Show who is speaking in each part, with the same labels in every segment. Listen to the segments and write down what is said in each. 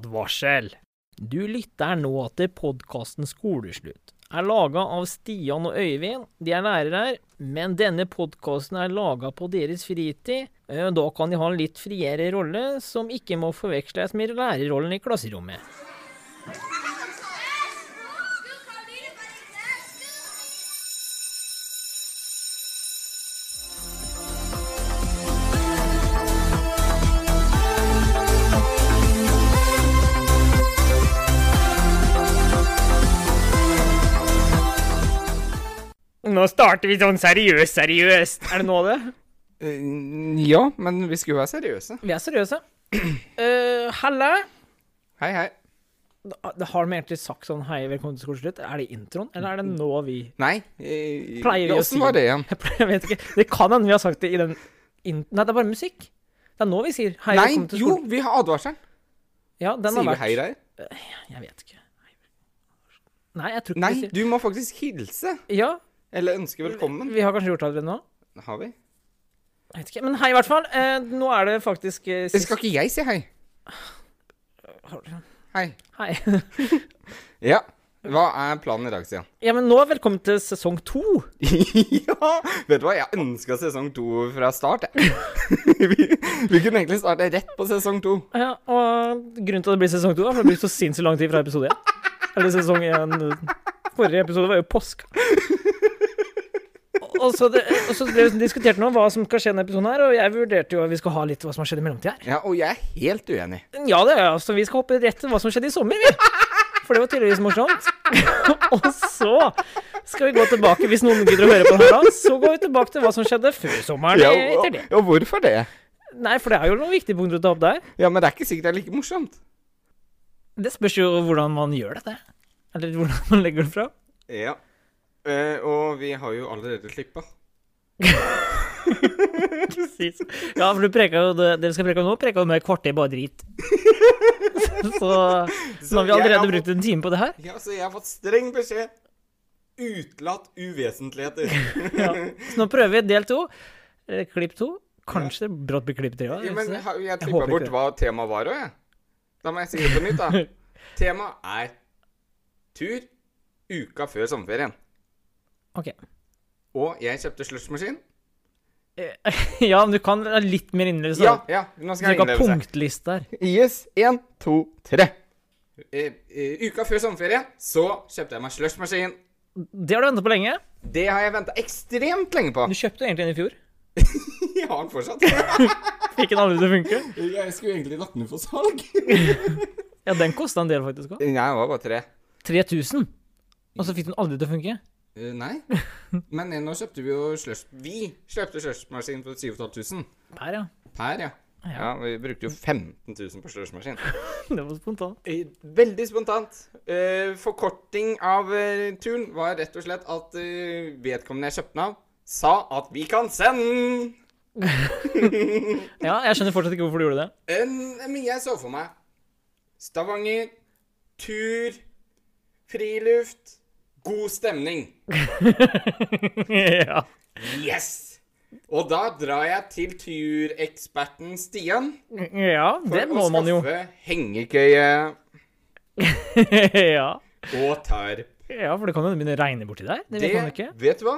Speaker 1: Advarsel! Du lytter nå til podkasten Skoleslutt. Er laga av Stian og Øyvind. De er lærere her, men denne podkasten er laga på deres fritid. Eh, Da kan de ha en litt friere rolle, som ikke må forveksles med lærerrollen i klasserommet. Nå starter vi sånn seriøst, seriøst. Er det nå det?
Speaker 2: Eh, Ja, men vi skulle jo være seriøse.
Speaker 1: Vi er seriøse. Uh, Helle.
Speaker 2: Hei, hei.
Speaker 1: Ah, Har de egentlig sagt sånn hei, velkommen til skoleslutt? Er det introen, eller er det nå vi
Speaker 2: Nei. eh,
Speaker 1: Pleier vi
Speaker 2: ja,
Speaker 1: å si-
Speaker 2: Åssen var det igjen?
Speaker 1: Jeg pleier- jeg vet ikke. Det kan hende vi har sagt det i den in Nei, det er bare musikk. Det er nå vi sier hei,
Speaker 2: Nei,
Speaker 1: velkommen til
Speaker 2: jo,
Speaker 1: skolen.
Speaker 2: vi har advarselen.
Speaker 1: Ja, den har
Speaker 2: Sier vi
Speaker 1: vært
Speaker 2: hei der?
Speaker 1: Jeg vet ikke. Nei, jeg tror ikke
Speaker 2: Nei,
Speaker 1: vi sier
Speaker 2: du må faktisk hilse.
Speaker 1: Ja,
Speaker 2: Eller ønske velkommen.
Speaker 1: vi har kanskje gjort det allerede nå.
Speaker 2: Har vi?
Speaker 1: Jeg vet ikke. Men hei, i hvert fall. Eh, nå er det faktisk eh,
Speaker 2: Eh, Skal ikke jeg si hei? Hei.
Speaker 1: Hei.
Speaker 2: Ja. Hva er planen i dag, Stian?
Speaker 1: Ja, men nå velkommen til sesong to.
Speaker 2: ja! Vet du hva, jeg ønska sesong to fra start, jeg. vi, vi kunne egentlig starte rett på sesong to.
Speaker 1: Ja, og grunnen til at det blir sesong to, er for det blir så sinnssykt lang tid fra episode én. Eller sesong én Forrige episode var jo påske. Og så, det, og så ble det diskutert nå hva som skal skje i denne episoden, her, og jeg vurderte jo at vi skal ha litt hva som har skjedd i mellomtida her.
Speaker 2: Ja, og jeg er helt uenig.
Speaker 1: Ja, det er jeg, altså, vi skal hoppe rett til hva som skjedde i sommer, vi. For det var tydeligvis morsomt. og så skal vi gå tilbake, hvis noen gidder å høre på det her, da, så går vi tilbake til hva som skjedde før sommeren.
Speaker 2: Ja,
Speaker 1: eh,
Speaker 2: og,
Speaker 1: etter det.
Speaker 2: og hvorfor det?
Speaker 1: Nei, for det er jo noen viktige punkter å ta opp der.
Speaker 2: Ja, men det er ikke sikkert det er like morsomt.
Speaker 1: Det spørs jo hvordan man gjør dette. Eller hvordan man legger det fra.
Speaker 2: Ja. Eh, og vi har jo allerede klippa.
Speaker 1: Precis. Ja, for du preka jo det dere skal preke om nå, preka jo med et kvarter bare drit. Så nå har vi
Speaker 2: jeg har
Speaker 1: allerede
Speaker 2: fått-
Speaker 1: brukt en time på det her.
Speaker 2: Ja, så jeg har fått streng beskjed. Utelatt uvesentligheter.
Speaker 1: Så nå prøver vi del to. Eller klipp to. Kanskje det brått blir klipp tre òg.
Speaker 2: ja, men jeg, har- jeg
Speaker 1: håper
Speaker 2: klippa
Speaker 1: ikke
Speaker 2: bort
Speaker 1: det.
Speaker 2: hva temaet var òg, jeg. Da må jeg si det på nytt, da. Temaet er tur uka før sommerferien.
Speaker 1: Ok.
Speaker 2: Og jeg kjøpte slushmaskin.
Speaker 1: Ja, men du kan være litt mer innlevelse.
Speaker 2: Ja,
Speaker 1: da.
Speaker 2: ja, nå
Speaker 1: Så
Speaker 2: skal jeg
Speaker 1: du ikke har
Speaker 2: innlevelse.
Speaker 1: punktliste der.
Speaker 2: Yes. Én, to, tre. Eh, eh, uka før sommerferien så kjøpte jeg meg slushmaskin.
Speaker 1: Det har du venta på lenge.
Speaker 2: Det har jeg venta ekstremt lenge på.
Speaker 1: Du kjøpte jo egentlig den i fjor.
Speaker 2: Jeg har den fortsatt.
Speaker 1: Fikk den aldri til å funke.
Speaker 2: Jeg skulle egentlig lagt den ut for salg.
Speaker 1: Ja, den kosta en del, faktisk òg.
Speaker 2: Nei, det var bare tre.
Speaker 1: 3000. Og så fikk den aldri til å funke.
Speaker 2: Eh, nei. Men eh, nå kjøpte vi jo slush... Vi kjøpte slushmaskin for 7500
Speaker 1: Der, ja.
Speaker 2: per, ja.
Speaker 1: Ja.
Speaker 2: Ja, vi brukte jo 15 000 på slushmaskin.
Speaker 1: Det var spontant.
Speaker 2: Eh, Veldig spontant. Eh, forkorting av eh, turen var rett og slett at eh, vedkommende jeg kjøpte den av, sa at vi kan sende den!
Speaker 1: Ja, jeg skjønner fortsatt ikke hvorfor du gjorde det.
Speaker 2: En, men jeg så for meg Stavanger, tur, friluft, god stemning.
Speaker 1: ja.
Speaker 2: Yes! Og da drar jeg til tureksperten Stian
Speaker 1: ja, det
Speaker 2: for
Speaker 1: må
Speaker 2: å
Speaker 1: man jo.
Speaker 2: skaffe hengekøye
Speaker 1: ja.
Speaker 2: og tarp.
Speaker 1: ja, for det kan jo begynne å regne borti der. Det vet man jo ikke.
Speaker 2: vet du hva?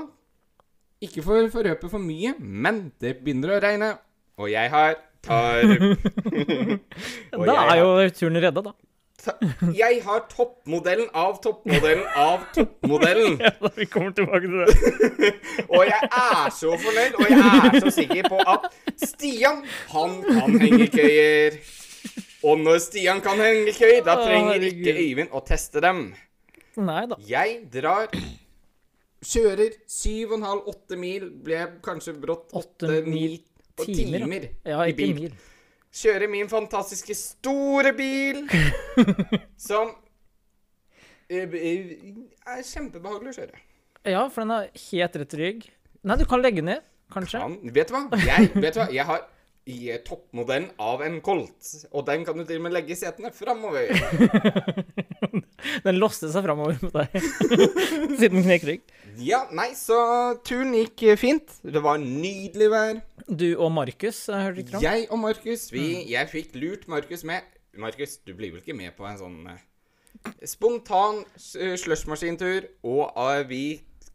Speaker 2: Ikke for å forrøpe for mye, men det begynner å regne. Og jeg har tarp. Og
Speaker 1: Da
Speaker 2: jeg
Speaker 1: er
Speaker 2: har-
Speaker 1: jo turen redda, da.
Speaker 2: Ta jeg har toppmodellen av toppmodellen av toppmodellen.
Speaker 1: Ja, da vi kommer tilbake til det.
Speaker 2: Og jeg er så fornøyd, og jeg er så sikker på at Stian, han kan hengekøyer. Og når Stian kan hengekøyer, da
Speaker 1: Å,
Speaker 2: trenger
Speaker 1: herregud.
Speaker 2: ikke Øyvind å teste dem.
Speaker 1: Nei da.
Speaker 2: Jeg drar Kjører 7,5-8 mil, ble kanskje brått
Speaker 1: Åtte
Speaker 2: 8
Speaker 1: mil
Speaker 2: mil og
Speaker 1: timer,
Speaker 2: timer
Speaker 1: Ja,
Speaker 2: i
Speaker 1: ikke
Speaker 2: bil.
Speaker 1: mil.
Speaker 2: Kjører min fantastiske store bil, som eh, eh, er kjempebehagelig å kjøre.
Speaker 1: Ja, for den er helt rett rygg. Nei, du kan legge ned, kanskje.
Speaker 2: Han, vet du hva? Jeg, vet du hva? jeg har i toppmodellen av en Colt, og den kan du til og med legge i setene framover.
Speaker 1: Den låste seg framover mot deg siden den knekk rygg.
Speaker 2: Ja, nei, så turen gikk fint. Det var nydelig vær.
Speaker 1: Du og Markus, jeg hørte ikke om.
Speaker 2: Jeg og Markus, vi Jeg fikk lurt Markus med Markus, du blir vel ikke med på en sånn eh, spontan s- eh, slushmaskintur, og eh, vi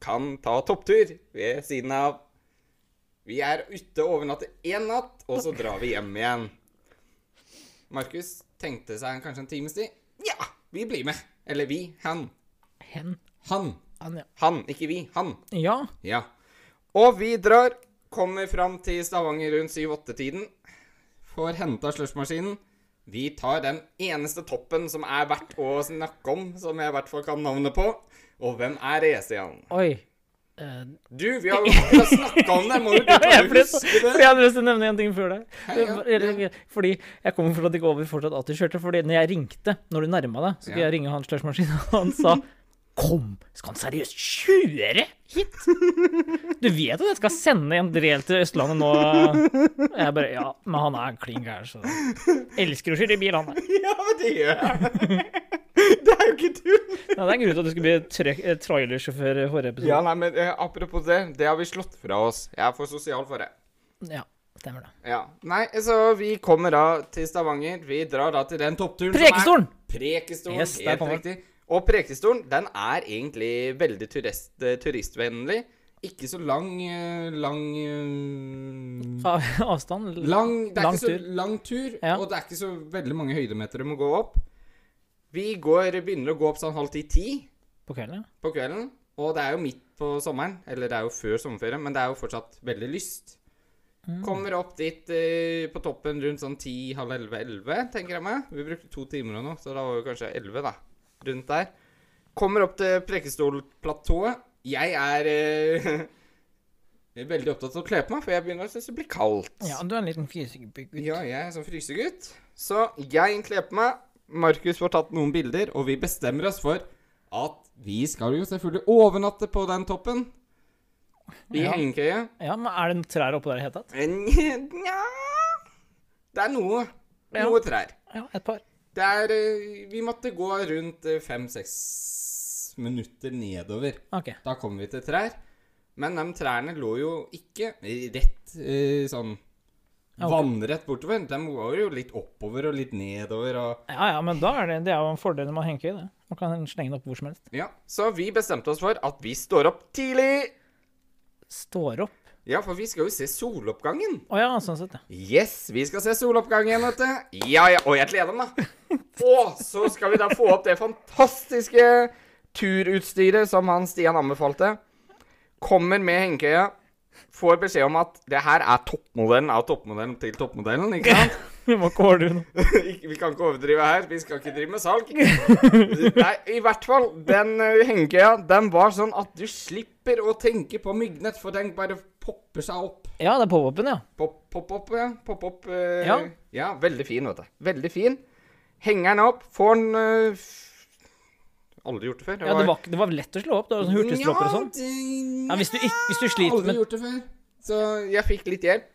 Speaker 2: kan ta topptur ved siden av Vi er ute og overnatter én natt, og så drar vi hjem igjen. Markus tenkte seg kanskje en times tid. Ja, vi blir med. Eller vi. Han.
Speaker 1: Hen.
Speaker 2: Han.
Speaker 1: Han, ja.
Speaker 2: Han, ikke vi. Han.
Speaker 1: ja.
Speaker 2: Ja. Og vi drar. Kommer fram til Stavanger rundt 7-8-tiden. Får henta slushmaskinen. Vi tar den eneste toppen som er verdt å snakke om, som jeg i hvert fall kan navnet på. Og hvem er Esian?
Speaker 1: Oi. Eh,
Speaker 2: Du, vi har jo snakka om det! Må jo du
Speaker 1: Ja, jeg,
Speaker 2: kan
Speaker 1: ble
Speaker 2: jo
Speaker 1: så,
Speaker 2: huske
Speaker 1: for
Speaker 2: det?
Speaker 1: jeg hadde lyst til å nevne en ting før deg.
Speaker 2: Ja, ja.
Speaker 1: Fordi jeg kommer for at det ikke over fortsatt at du kjørte. Fordi når jeg ringte, når du nærma deg, så skulle
Speaker 2: Ja.
Speaker 1: jeg ringe han størsmaskinen, og han sa Kom, skal han seriøst kjøre hit? Du vet at jeg skal sende en del til Østlandet nå? Og Jeg bare Ja, men han er klin gæren, så Elsker å kjøre bil, han der.
Speaker 2: Ja, men det gjør jeg. Det er jo ikke tull.
Speaker 1: Ja, det er grunnen til at du skulle bli trøk- eh, trailersjåfør i forrige
Speaker 2: Ja,
Speaker 1: episode.
Speaker 2: nei, men eh, apropos det. Det har vi slått fra oss. Jeg er for sosial for det.
Speaker 1: Ja, stemmer det.
Speaker 2: Ja. Nei, så vi kommer da til Stavanger. Vi drar da til den toppturen som er-
Speaker 1: Prekestolen!
Speaker 2: Prekestolen,
Speaker 1: Yes, der
Speaker 2: helt
Speaker 1: kommer
Speaker 2: riktig. Og Prekestolen den er egentlig veldig turist, eh, turistvennlig. Ikke så lang eh, lang eh,
Speaker 1: Av, avstand?
Speaker 2: Lang, det er
Speaker 1: lang
Speaker 2: ikke så
Speaker 1: tur.
Speaker 2: lang tur,
Speaker 1: Ja.
Speaker 2: og det er ikke så veldig mange høydemeter du må gå opp. Vi går, begynner å gå opp sånn halv ti-ti
Speaker 1: På kvelden? ja.
Speaker 2: på kvelden. Og det er jo midt på sommeren, eller det er jo før sommerferien, men det er jo fortsatt veldig lyst. Kommer opp dit eh, på toppen rundt sånn ti, halv elleve, elleve, tenker jeg meg. Vi brukte to timer og noe, så da var vi kanskje elleve, da. Rundt der. Kommer opp til Prekestolplatået. Jeg er eh, veldig opptatt av å kle på meg, for jeg begynner å synes det blir kaldt.
Speaker 1: Ja, du er en liten fysikerbygutt.
Speaker 2: Ja, jeg er sånn frysegutt. Så jeg kler på meg. Markus får tatt noen bilder, og vi bestemmer oss for at vi skal jo selvfølgelig overnatte på den toppen. I
Speaker 1: Ja.
Speaker 2: hengekøye.
Speaker 1: Ja, men er det noen trær oppå der i det hele tatt?
Speaker 2: Men, Nja Det er noe.
Speaker 1: Ja.
Speaker 2: Noe trær.
Speaker 1: Ja, et par.
Speaker 2: Det er eh, Vi måtte gå rundt fem-seks minutter nedover.
Speaker 1: Ok.
Speaker 2: Da kom vi til trær. Men de trærne lå jo ikke rett eh, sånn
Speaker 1: ok.
Speaker 2: vannrett bortover. De var jo litt oppover og litt nedover og
Speaker 1: Ja, ja, men da er det, det er jo en fordel når man henker i det. Man kan slenge den opp hvor som helst.
Speaker 2: Ja. Så vi bestemte oss for at vi står opp tidlig.
Speaker 1: Står opp.
Speaker 2: Ja, for vi skal jo se soloppgangen.
Speaker 1: Å ja, sånn sett, ja.
Speaker 2: Yes, vi skal se soloppgangen, vet du. Ja, ja. Og jeg gleder meg. Og så skal vi da få opp det fantastiske turutstyret som han Stian anbefalte. Kommer med hengekøya. Får beskjed om at det her er toppmodellen av toppmodellen til toppmodellen. ikke sant?
Speaker 1: Vi må ikke ordne noe.
Speaker 2: Ikke- Vi kan ikke overdrive her. Vi skal ikke drive med salg. Nei, i hvert fall. Den eh, hengekøya, den var sånn at du slipper å tenke på myggnett, for den bare popper seg opp.
Speaker 1: Ja, det er pop-upen, ja.
Speaker 2: Pop, pop, pop, ja. Pop, pop, eh, ja.
Speaker 1: Ja.
Speaker 2: veldig fin, vet du. Veldig fin. Henger den opp, får den eh, f- Aldri gjort det før.
Speaker 1: ja det, var, det var lett å slå opp. Det var sånn hurtigslåper og sånn.
Speaker 2: det-
Speaker 1: Ja, hvis du, ikke, hvis du sliter
Speaker 2: Aldri
Speaker 1: med
Speaker 2: gjort det før. Så jeg fikk litt hjelp.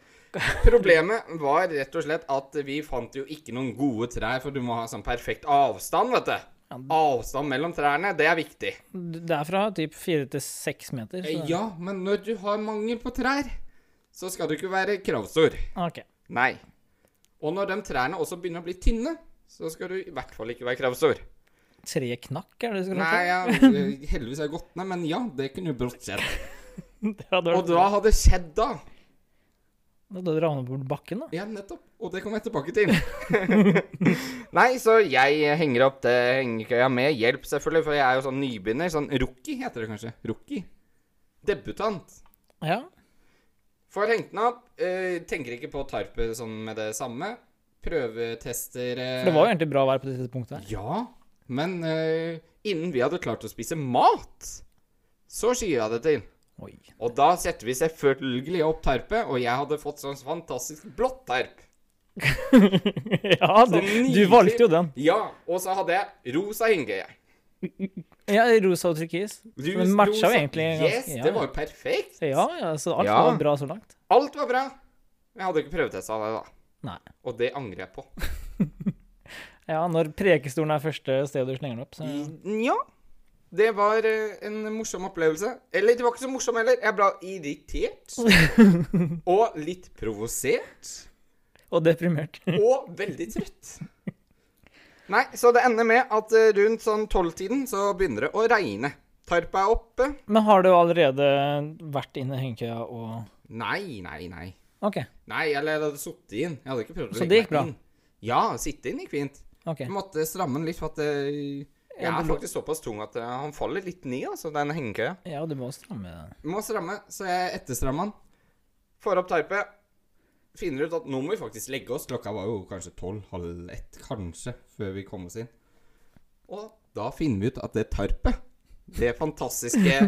Speaker 2: Problemet var rett og slett at vi fant jo ikke noen gode trær, for du må ha sånn perfekt avstand, vet du. Avstand mellom trærne, det er viktig.
Speaker 1: Det er fra typ fire til seks meter. Så.
Speaker 2: Ja, men når du har mangel på trær, så skal du ikke være kravstor.
Speaker 1: Ok.
Speaker 2: Nei. Og når de trærne også begynner å bli tynne, så skal du i hvert fall ikke være kravstor.
Speaker 1: Tre knakk, er det det skal
Speaker 2: Nei,
Speaker 1: hete?
Speaker 2: ja, heldigvis er jeg gått ned, men ja, det kunne jo brått skjedd.
Speaker 1: Det hadde
Speaker 2: Og
Speaker 1: vært
Speaker 2: hva hadde skjedd da?
Speaker 1: Da hadde du ramlet bort bakken, da.
Speaker 2: Ja, nettopp. Og det kommer jeg tilbake til. Nei, så jeg henger opp det hengekøya med hjelp, selvfølgelig, for jeg er jo sånn nybegynner. Sånn rookie heter det kanskje. Rookie. Debutant.
Speaker 1: Ja.
Speaker 2: Får hengt den opp. eh, tenker ikke på tarpet sånn med det samme. Prøvetester eh,
Speaker 1: For det var jo egentlig bra vær på dette punktet her.
Speaker 2: Ja, men eh, innen vi hadde klart å spise mat, så skya det til.
Speaker 1: Oi.
Speaker 2: Og da setter vi selvfølgelig opp tarpet, og jeg hadde fått sånn fantastisk blått tarp.
Speaker 1: Ja, du,
Speaker 2: Sånn
Speaker 1: du valgte jo den.
Speaker 2: Ja, og så hadde jeg rosa hengekøye.
Speaker 1: Ja, rosa og turkis.
Speaker 2: Rus-
Speaker 1: Men matcha jo
Speaker 2: rosa-
Speaker 1: egentlig
Speaker 2: Yes,
Speaker 1: ganske- ja,
Speaker 2: det var jo perfekt.
Speaker 1: Ja, ja, så alt
Speaker 2: Ja.
Speaker 1: var bra så langt.
Speaker 2: Alt var bra. Jeg hadde ikke prøvetesta det, da.
Speaker 1: Nei.
Speaker 2: Og det angrer jeg på.
Speaker 1: Ja, når prekestolen er første sted du slenger den opp, så
Speaker 2: Nja. Det var eh, en morsom opplevelse. Eller det var ikke så morsom heller. Jeg ble irritert. Og litt provosert.
Speaker 1: Og deprimert.
Speaker 2: og veldig trøtt. Nei, så det ender med at eh, rundt sånn tolvtiden så begynner det å regne. Tarpa er oppe.
Speaker 1: Men har du allerede vært inne i hengekøya og
Speaker 2: Nei, nei, nei.
Speaker 1: OK.
Speaker 2: Nei, eller jeg hadde sittet inn. Jeg hadde ikke prøvd å
Speaker 1: Så
Speaker 2: legge
Speaker 1: det gikk
Speaker 2: meg
Speaker 1: bra?
Speaker 2: inn. Ja, sitte inn gikk fint.
Speaker 1: ok.
Speaker 2: Jeg måtte stramme den litt, for at eh, jeg
Speaker 1: Ja,
Speaker 2: er
Speaker 1: du må-
Speaker 2: faktisk såpass tung at eh, han faller litt ned, altså, den hengekøya.
Speaker 1: Ja, du må stramme den.
Speaker 2: Må stramme, så jeg etterstrammer den. Får opp tarpet. Finner ut at nå må vi faktisk legge oss. Klokka var jo kanskje tolv, halv ett, kanskje, før vi kom oss inn. Og da finner vi ut at det tarpet, det fantastiske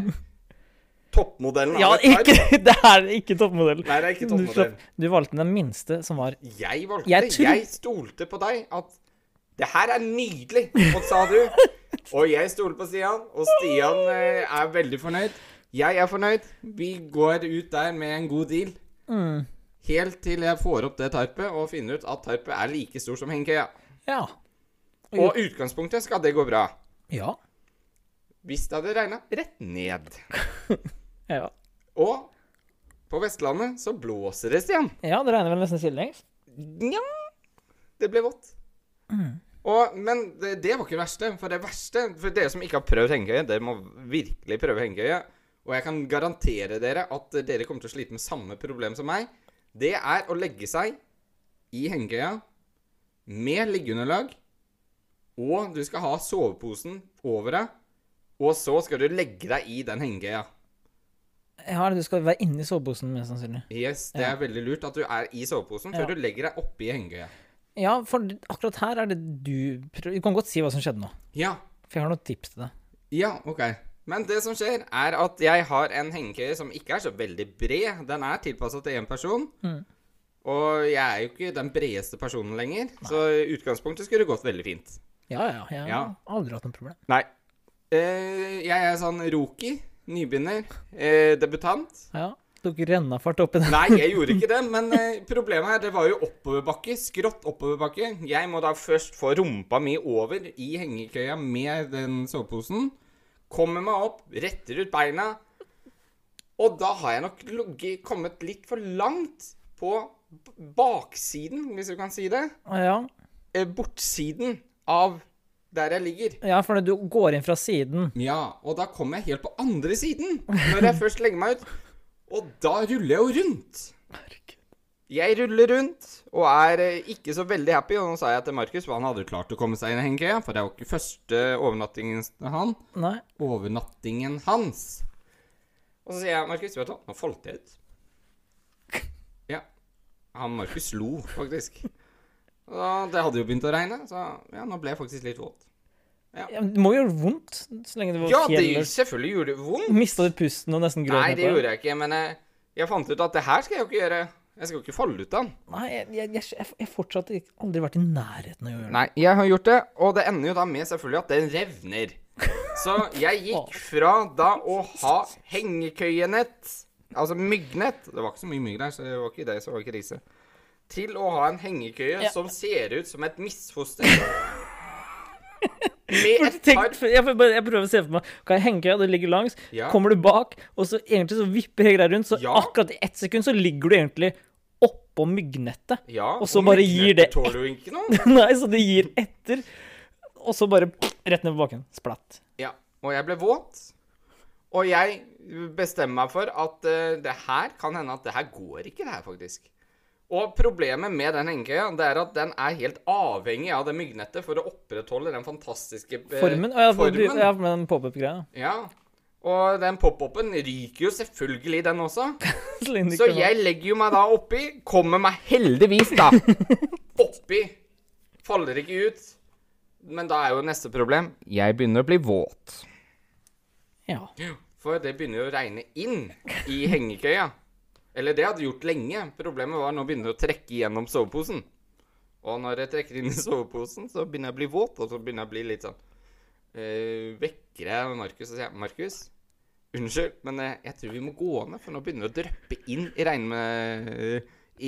Speaker 2: toppmodellen
Speaker 1: Ja,
Speaker 2: av et tarp
Speaker 1: ikke, det er ikke toppmodell.
Speaker 2: Nei, det er ikke
Speaker 1: Du,
Speaker 2: toppmodell.
Speaker 1: slapp, du valgte den minste som var
Speaker 2: Jeg valgte,
Speaker 1: Jeg
Speaker 2: jeg,
Speaker 1: tror-
Speaker 2: stolte på deg at det her er nydelig, og sa du. Og jeg stoler på Stian, og Stian eh, er veldig fornøyd. Jeg er fornøyd. Vi går ut der med en god deal. Helt til jeg får opp det tarpet og finner ut at tarpet er like stort som hengekøya.
Speaker 1: Ja.
Speaker 2: Og i utgangspunktet skal det gå bra.
Speaker 1: Ja.
Speaker 2: Hvis det hadde regna rett ned.
Speaker 1: Ja,
Speaker 2: Og på Vestlandet så blåser det, Stian.
Speaker 1: ja det regner vel nesten sidelengs.
Speaker 2: Nja Det ble vått. Og, men det, det var ikke det verste. For det verste For dere som ikke har prøvd hengekøye, dere må virkelig prøve hengekøye. Og jeg kan garantere dere at dere kommer til å slite med samme problem som meg. Det er å legge seg i hengekøya med liggeunderlag, og du skal ha soveposen over deg, og så skal du legge deg i den hengekøya.
Speaker 1: Ja, du skal være inni soveposen, mest sannsynlig.
Speaker 2: Yes, det er veldig lurt at du er i soveposen før
Speaker 1: Ja.
Speaker 2: du legger deg oppi hengekøya.
Speaker 1: Ja, for akkurat her er det du prøver Du kan godt si hva som skjedde nå,
Speaker 2: Ja,
Speaker 1: for jeg har noen tips til deg.
Speaker 2: Ja, ok. Men det som skjer, er at jeg har en hengekøye som ikke er så veldig bred. Den er tilpassa til én person. Og jeg er jo ikke den bredeste personen lenger, så i utgangspunktet skulle det gått veldig fint.
Speaker 1: Ja, ja. Jeg har
Speaker 2: Ja.
Speaker 1: aldri hatt noe problem.
Speaker 2: Nei. Eh, jeg er sånn roki, nybegynner, eh, debutant.
Speaker 1: Ja. Tok rennafart oppi den.
Speaker 2: Nei, jeg gjorde ikke det, men eh, problemet her, det var jo oppoverbakke. Skrått oppoverbakke. Jeg må da først få rumpa mi over i hengekøya med den soveposen. Kommer meg opp, retter ut beina. Og da har jeg nok ligget- kommet litt for langt på b- baksiden, hvis du kan si det.
Speaker 1: Ja.
Speaker 2: Eh, Bortsiden av der jeg ligger.
Speaker 1: ja, for du går inn fra siden.
Speaker 2: Ja, og da kommer jeg helt på andre siden når jeg først legger meg ut. Og da ruller jeg jo rundt. Jeg ruller rundt og er eh, ikke så veldig happy. Og nå sa jeg til Markus for han hadde jo klart å komme seg inn i hengekøya, for det var ikke første overnattingen han.
Speaker 1: Nei.
Speaker 2: Overnattingen hans. Og så sier jeg Markus, vet du hva, nå falt jeg ut. Ja. Han Markus lo, faktisk. Og det hadde jo begynt å regne, så ja, nå ble jeg faktisk litt våt.
Speaker 1: Ja, men det må jo gjøre vondt, så lenge det var
Speaker 2: Ja, det
Speaker 1: fjell.
Speaker 2: selvfølgelig gjorde det vondt.
Speaker 1: Mista du pusten og nesten gråt?
Speaker 2: Nei, det gjorde jeg ikke, men jeg, jeg fant ut at det her skal jeg jo ikke gjøre. Jeg skal jo ikke falle ut av den.
Speaker 1: Nei, jeg, jeg, jeg, jeg, jeg fortsatt ikke- aldri vært i nærheten av å gjøre det.
Speaker 2: Nei, jeg har gjort det, og det ender jo da med selvfølgelig at den revner. Så jeg gikk fra da å ha hengekøyenett, altså myggnett Det var ikke så mye mygg der, så det var ikke det som var krise. Til å ha en hengekøye
Speaker 1: Ja.
Speaker 2: som ser ut som et misfoster. Med et
Speaker 1: Tenk,
Speaker 2: par
Speaker 1: jeg, får bare- jeg prøver å se for meg Kan jeg henge og det ligger langs.
Speaker 2: Ja.
Speaker 1: Kommer du bak, og så egentlig så vipper hele greia rundt, så
Speaker 2: Ja.
Speaker 1: akkurat i ett sekund så ligger du egentlig oppå myggnettet.
Speaker 2: Ja,
Speaker 1: Og så bare gir
Speaker 2: myggnettet
Speaker 1: det
Speaker 2: tåler jo ikke noe.
Speaker 1: Nei, så det gir etter. Og så bare rett ned på bakken. Splatt.
Speaker 2: Ja, og jeg ble våt. Og jeg bestemmer meg for at eh, det her kan hende at det her går ikke, det her faktisk. Og problemet med den hengekøya det er at den er helt avhengig av det myggnettet for å opprettholde den fantastiske eh,
Speaker 1: Formen. Å, ja,
Speaker 2: formen.
Speaker 1: formen. ja, med den pop-up-greia.
Speaker 2: Ja. Og den pop-upen ryker jo selvfølgelig, den også.
Speaker 1: Så lenge det
Speaker 2: Så
Speaker 1: ikke var-
Speaker 2: jeg legger jo meg da oppi. Kommer meg heldigvis, da, oppi. Faller ikke ut. Men da er jo neste problem Jeg begynner å bli våt.
Speaker 1: Ja.
Speaker 2: For det begynner jo å regne inn i hengekøya. Eller det hadde gjort lenge. Problemet var nå begynner det å trekke gjennom soveposen. Og når jeg trekker inn i soveposen, så begynner jeg å bli våt, og så begynner jeg å bli litt sånn eh, Vekker jeg Markus og sier 'Markus, unnskyld, men eh, jeg tror vi må gå ned, for nå begynner det å dryppe inn i regn med, eh,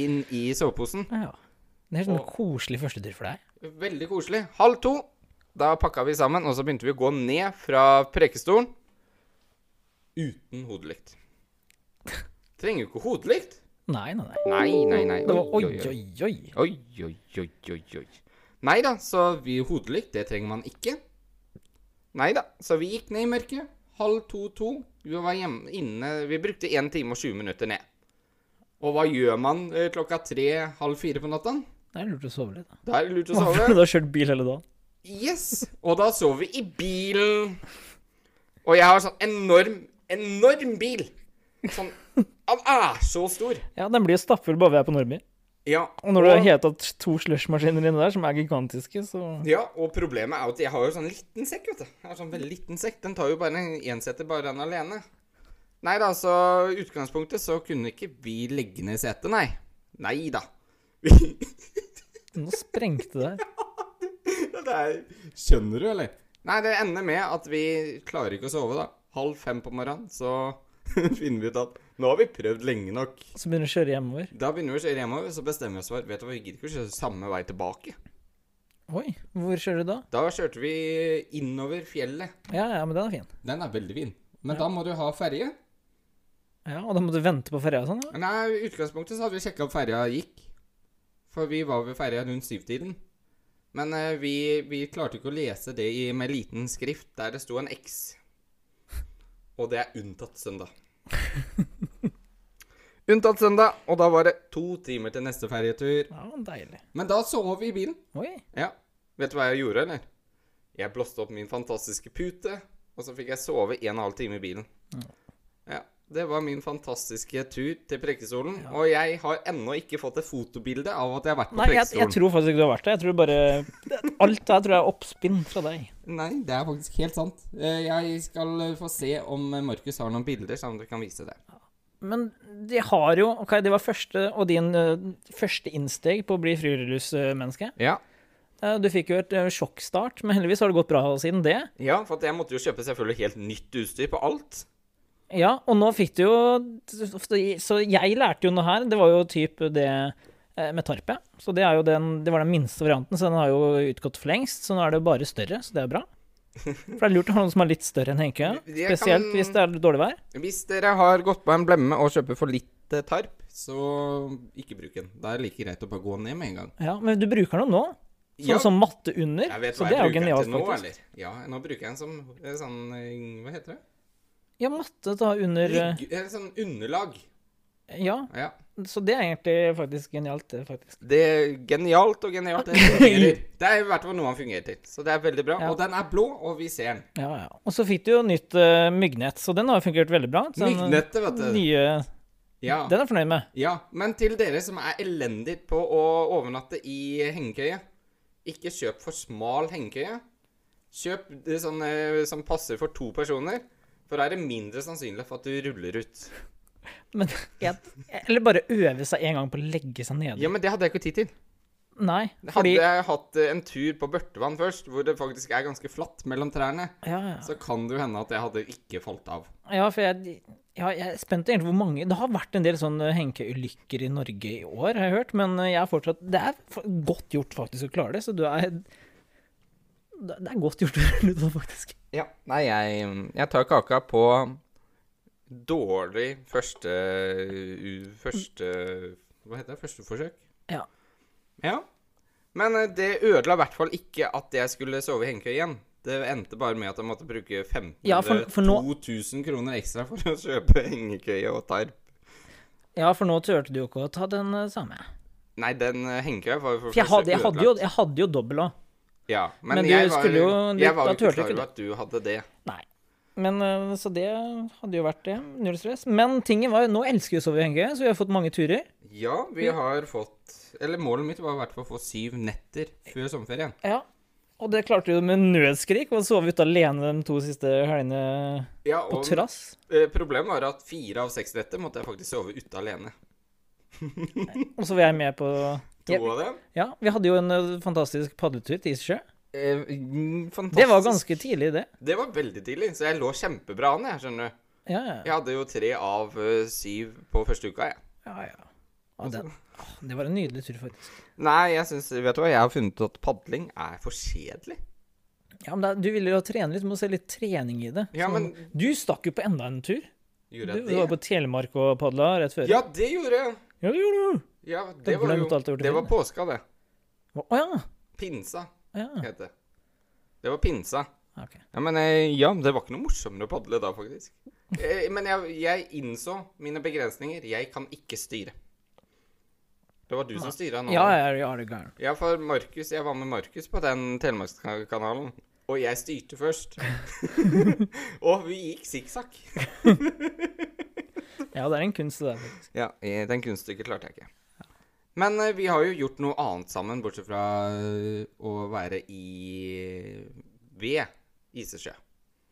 Speaker 2: inn i soveposen'.
Speaker 1: ja. Det er sånn koselig førstetur for deg.
Speaker 2: Veldig koselig. Halv to. Da pakka vi sammen, og så begynte vi å gå ned fra prekestolen uten hodelykt. Trenger jo ikke hodelykt.
Speaker 1: Nei, nei, nei.
Speaker 2: Nei, nei, nei.
Speaker 1: Det var
Speaker 2: Oi,
Speaker 1: oi, oi, oi.
Speaker 2: oi, oi, oi, oi, oi. Nei da, så vi hodelykt, det trenger man ikke. Nei da, så vi gikk ned i mørket. Halv to-to. Vi var hjemme inne Vi brukte 1 time og 20 minutter ned. Og hva gjør man eh, klokka tre-halv fire på natta?
Speaker 1: Det er lurt å sove litt. da.
Speaker 2: Da er det lurt å sove.
Speaker 1: Du har kjørt bil hele dagen.
Speaker 2: Yes! Og da sov vi i bilen. Og jeg har sånn enorm, enorm bil. Sånn Han er så stor.
Speaker 1: Ja, den blir jo stappfull bare vi er på Normi.
Speaker 2: Ja.
Speaker 1: Og når du har heta to slushmaskiner inni der, som er gigantiske, så
Speaker 2: Ja, og problemet er jo at jeg har jo sånn liten sekk, vet du. Jeg har sånn veldig liten sekk. Den tar jo bare en enseter bare den alene. Nei da, så i utgangspunktet så kunne ikke vi legge ned setet, nei. Nei da.
Speaker 1: Nå sprengte det her.
Speaker 2: Skjønner du, eller? Nei, det ender med at vi klarer ikke å sove, da. Halv fem på morgenen, så finner vi ut at nå har vi prøvd lenge nok.
Speaker 1: Så begynner du å kjøre hjemover.
Speaker 2: Da begynner vi å kjøre hjemover, så bestemmer vi oss for Vet du hva, vi gidder ikke å kjøre samme vei tilbake.
Speaker 1: Oi, hvor kjører du da?
Speaker 2: Da kjørte vi innover fjellet.
Speaker 1: Ja, ja, men den er fin.
Speaker 2: Den er veldig fin. Men da må du ha ferje.
Speaker 1: Ja, Og da må du vente på ferja og sånn? Ja.
Speaker 2: Nei, i utgangspunktet så hadde vi sjekka om ferja gikk. For vi var ved ferja rundt syvtiden. Men eh, vi, vi klarte ikke å lese det i, med liten skrift der det sto en X. Og det er unntatt søndag. unntatt søndag, og da var det to timer til neste ferjetur.
Speaker 1: ja, deilig.
Speaker 2: Men da sov vi i bilen.
Speaker 1: Oi.
Speaker 2: Ja. Vet du hva jeg gjorde, eller? Jeg blåste opp min fantastiske pute, og så fikk jeg sove en og en halv time i bilen. Ja. Det var min fantastiske tur til Preikestolen, og jeg har ennå ikke fått et fotobilde av at jeg har vært på
Speaker 1: Nei, jeg, jeg
Speaker 2: Preikestolen.
Speaker 1: tror faktisk ikke du har vært der. Jeg tror bare det- Alt det her tror jeg er oppspinn fra deg.
Speaker 2: Nei, det er faktisk helt sant. Eh, Jeg skal eh, få se om eh, Markus har noen bilder, sånn at vi kan vise det.
Speaker 1: Men de har jo OK, det var første og din eh, første innsteg på å bli friluftsmenneske.
Speaker 2: Ja.
Speaker 1: Eh, Du fikk jo et eh, sjokkstart, men heldigvis har det gått bra siden det.
Speaker 2: ja, for at jeg måtte jo kjøpe selvfølgelig helt nytt utstyr på alt.
Speaker 1: Ja, og nå fikk du jo Så jeg lærte jo noe her. Det var jo typ det eh, med tarpet. Så det, er jo den, det var den minste varianten, så den har jo utgått for lengst. Så nå er det jo bare større, så det er bra. For det er lurt å ha noe som er litt større enn Henke.
Speaker 2: Jeg kan-
Speaker 1: Spesielt hvis det er dårlig vær.
Speaker 2: Hvis dere har gått på en blemme og kjøper for litt eh, tarp, så ikke bruk den. Da er det like greit å bare gå ned med en gang.
Speaker 1: Ja, men du bruker den jo nå. Sånn
Speaker 2: Ja.
Speaker 1: som matte under.
Speaker 2: Jeg vet
Speaker 1: Så
Speaker 2: hva
Speaker 1: det er jo
Speaker 2: jeg bruker den
Speaker 1: genialt,
Speaker 2: til nå,
Speaker 1: faktisk.
Speaker 2: eller? Ja, nå bruker jeg den som eh, sånn eh, Hva heter det?
Speaker 1: Ja, matte da under eh,
Speaker 2: Rygg, eh, sånn underlag.
Speaker 1: Ja,
Speaker 2: Ja.
Speaker 1: så det er egentlig faktisk genialt, det, faktisk.
Speaker 2: Det er genialt og genialt. Det fungerer. Det er i hvert fall noe han fungerer til. Så det er veldig bra.
Speaker 1: Ja.
Speaker 2: Og den er blå, og vi ser den.
Speaker 1: Ja, ja. Og så fikk du jo nytt eh, myggnett, så den har jo fungert veldig bra. Så den, eh,
Speaker 2: Myggnettet, vet du.
Speaker 1: Nye,
Speaker 2: Ja.
Speaker 1: den er jeg fornøyd med.
Speaker 2: ja. Men til dere som er elendig på å overnatte i hengekøye, ikke kjøp for smal hengekøye. Kjøp det sånn eh, som passer for to personer, for da er det mindre sannsynlig for at du ruller ut.
Speaker 1: Men jeg, Eller bare øve seg en gang på å legge seg nede.
Speaker 2: Ja, men det hadde jeg ikke tid til.
Speaker 1: Nei,
Speaker 2: Hadde
Speaker 1: fordi ja,
Speaker 2: jeg hatt eh, en tur på Børtevann først, hvor det faktisk er ganske flatt mellom trærne,
Speaker 1: ja.
Speaker 2: så kan det jo hende at jeg hadde ikke falt av.
Speaker 1: ja, for jeg, ja, jeg er spent egentlig hvor mange Det har vært en del sånne henkeulykker i Norge i år, har jeg hørt. Men eh, jeg er fortsatt Det er for- godt gjort faktisk å klare det, så du er Det det er godt gjort å gjøre det, faktisk.
Speaker 2: Ja, nei, jeg, jeg tar kaka på dårlig første eh, u- Første Hva heter det? Første forsøk?
Speaker 1: Ja.
Speaker 2: Ja. Men eh, det ødela i hvert fall ikke at jeg skulle sove i hengekøye igjen. Det endte bare med at jeg måtte bruke 1500
Speaker 1: Ja, for- for nå-
Speaker 2: 2000 kroner ekstra for å kjøpe hengekøye og tarp.
Speaker 1: Ja, for nå turte du jo ikke å ta den eh, samme.
Speaker 2: Nei, den eh, hengekøya var jo for
Speaker 1: For jeg hadde, jeg
Speaker 2: ødelagt.
Speaker 1: hadde jo, jeg hadde jo dobbel òg.
Speaker 2: Ja, men,
Speaker 1: Men du
Speaker 2: jeg var,
Speaker 1: skulle jo litt-
Speaker 2: jeg
Speaker 1: da
Speaker 2: var jo ikke
Speaker 1: turte
Speaker 2: klar
Speaker 1: ikke
Speaker 2: over at du hadde det.
Speaker 1: Nei. Men, eh, så det hadde jo vært det. Null stress. Men tingen var jo Nå elsker vi å sove i hengekøye, så vi har fått mange turer.
Speaker 2: Ja, vi har fått Eller målet mitt var i hvert fall å få syv netter før sommerferien.
Speaker 1: Ja, og det klarte du med nødskrik og sove ute alene de to siste helgene
Speaker 2: Ja,
Speaker 1: på
Speaker 2: og
Speaker 1: trass.
Speaker 2: eh, problemet var at fire av seks netter måtte jeg faktisk sove ute alene.
Speaker 1: Og så var jeg med på
Speaker 2: To
Speaker 1: Ja.
Speaker 2: av dem
Speaker 1: Ja, vi hadde jo en ø, fantastisk padletur til Issjø.
Speaker 2: eh, mm, Fantastisk.
Speaker 1: Det var ganske tidlig, det.
Speaker 2: Det var veldig tidlig, så jeg lå kjempebra an, jeg, skjønner du.
Speaker 1: Ja, ja.
Speaker 2: Jeg hadde jo tre av eh, syv på første uka, jeg.
Speaker 1: ja, ja.
Speaker 2: Altså-
Speaker 1: ja det, åh, det var en nydelig tur, faktisk.
Speaker 2: Nei, jeg syns Vet du hva, jeg har funnet ut at padling er for kjedelig.
Speaker 1: Ja, men da, Du ville jo trene litt, du må se litt trening i det.
Speaker 2: Ja,
Speaker 1: Så-
Speaker 2: men-
Speaker 1: Du stakk jo på enda en tur. Du,
Speaker 2: Gjorde
Speaker 1: du
Speaker 2: jeg
Speaker 1: var
Speaker 2: det?
Speaker 1: på Telemark og padla rett før.
Speaker 2: Ja, det gjorde jeg.
Speaker 1: ja det gjorde du.
Speaker 2: Ja, det
Speaker 1: Jeg
Speaker 2: var
Speaker 1: glemte alt jeg
Speaker 2: jo
Speaker 1: gjorde
Speaker 2: Det var
Speaker 1: før.
Speaker 2: påska, det.
Speaker 1: Å ja.
Speaker 2: Pinsa
Speaker 1: Ja,
Speaker 2: het det. Det var pinsa.
Speaker 1: ok.
Speaker 2: Ja, men eh, ja, det var ikke noe morsommere å padle da, faktisk. Eh, Men jeg, jeg innså mine begrensninger. Jeg kan ikke styre. Det var du som styra nå.
Speaker 1: Ja, ja, ja, er du gæren.
Speaker 2: Ja, for Markus, jeg var med Markus på den Telemarkskanalen, og jeg styrte først. og vi gikk sikksakk.
Speaker 1: Ja, det er en kunst, det der. faktisk.
Speaker 2: Ja, eh, den kunststykket klarte jeg ikke. Men eh, vi har jo gjort noe annet sammen, bortsett fra eh, å være i ved Isesjø.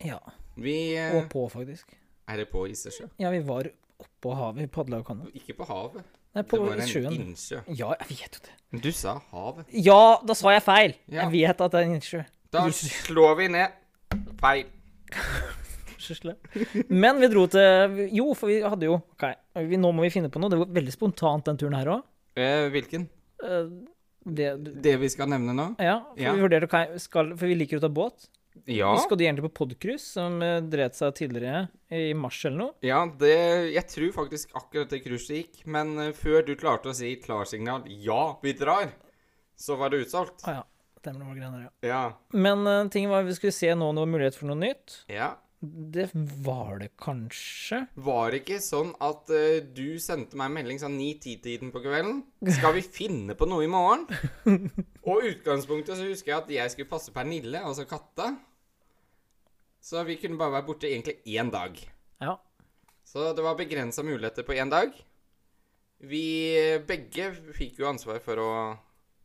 Speaker 1: Ja.
Speaker 2: Vi eh,
Speaker 1: Og på, faktisk.
Speaker 2: er det på Isesjø.
Speaker 1: Ja, vi var oppå havet, padla og kanna.
Speaker 2: Ikke på havet.
Speaker 1: Nei,
Speaker 2: Det
Speaker 1: på
Speaker 2: var en
Speaker 1: sjøen.
Speaker 2: innsjø.
Speaker 1: Ja, jeg vet jo det.
Speaker 2: Du sa havet.
Speaker 1: Ja, da sa jeg feil!
Speaker 2: Ja.
Speaker 1: Jeg vet at det er en innsjø.
Speaker 2: Da
Speaker 1: Jesus.
Speaker 2: slår vi ned. Feil.
Speaker 1: Sysle. Men vi dro til Jo, for vi hadde jo OK, vi, nå må vi finne på noe. Det var veldig spontant, den turen her òg.
Speaker 2: Eh, hvilken?
Speaker 1: Det
Speaker 2: Det vi skal nevne nå?
Speaker 1: Ja, for
Speaker 2: Ja.
Speaker 1: vi vurderte ok, skal, For vi liker å ta båt.
Speaker 2: Ja.
Speaker 1: Skal du egentlig på podcruise, som eh, dreit seg tidligere eh, i mars eller noe?
Speaker 2: Ja, det, jeg tror faktisk akkurat det kurset gikk, men eh, før du klarte å si klarsignal 'ja, vi drar', så var det utsolgt.
Speaker 1: Å ah, ja. stemmer det var greier der, ja.
Speaker 2: Ja.
Speaker 1: Men uh, ting var vi skulle se nå om det var mulighet for noe nytt.
Speaker 2: ja.
Speaker 1: Det var det kanskje.
Speaker 2: Var det ikke sånn at eh, du sendte meg en melding sånn 9-10-tiden på kvelden? 'Skal vi finne på noe i morgen?' Og i utgangspunktet så husker jeg at jeg skulle passe Pernille, altså katta. Så vi kunne bare være borte egentlig én dag.
Speaker 1: Ja.
Speaker 2: Så det var begrensa muligheter på én dag. Vi eh, begge fikk jo ansvar for å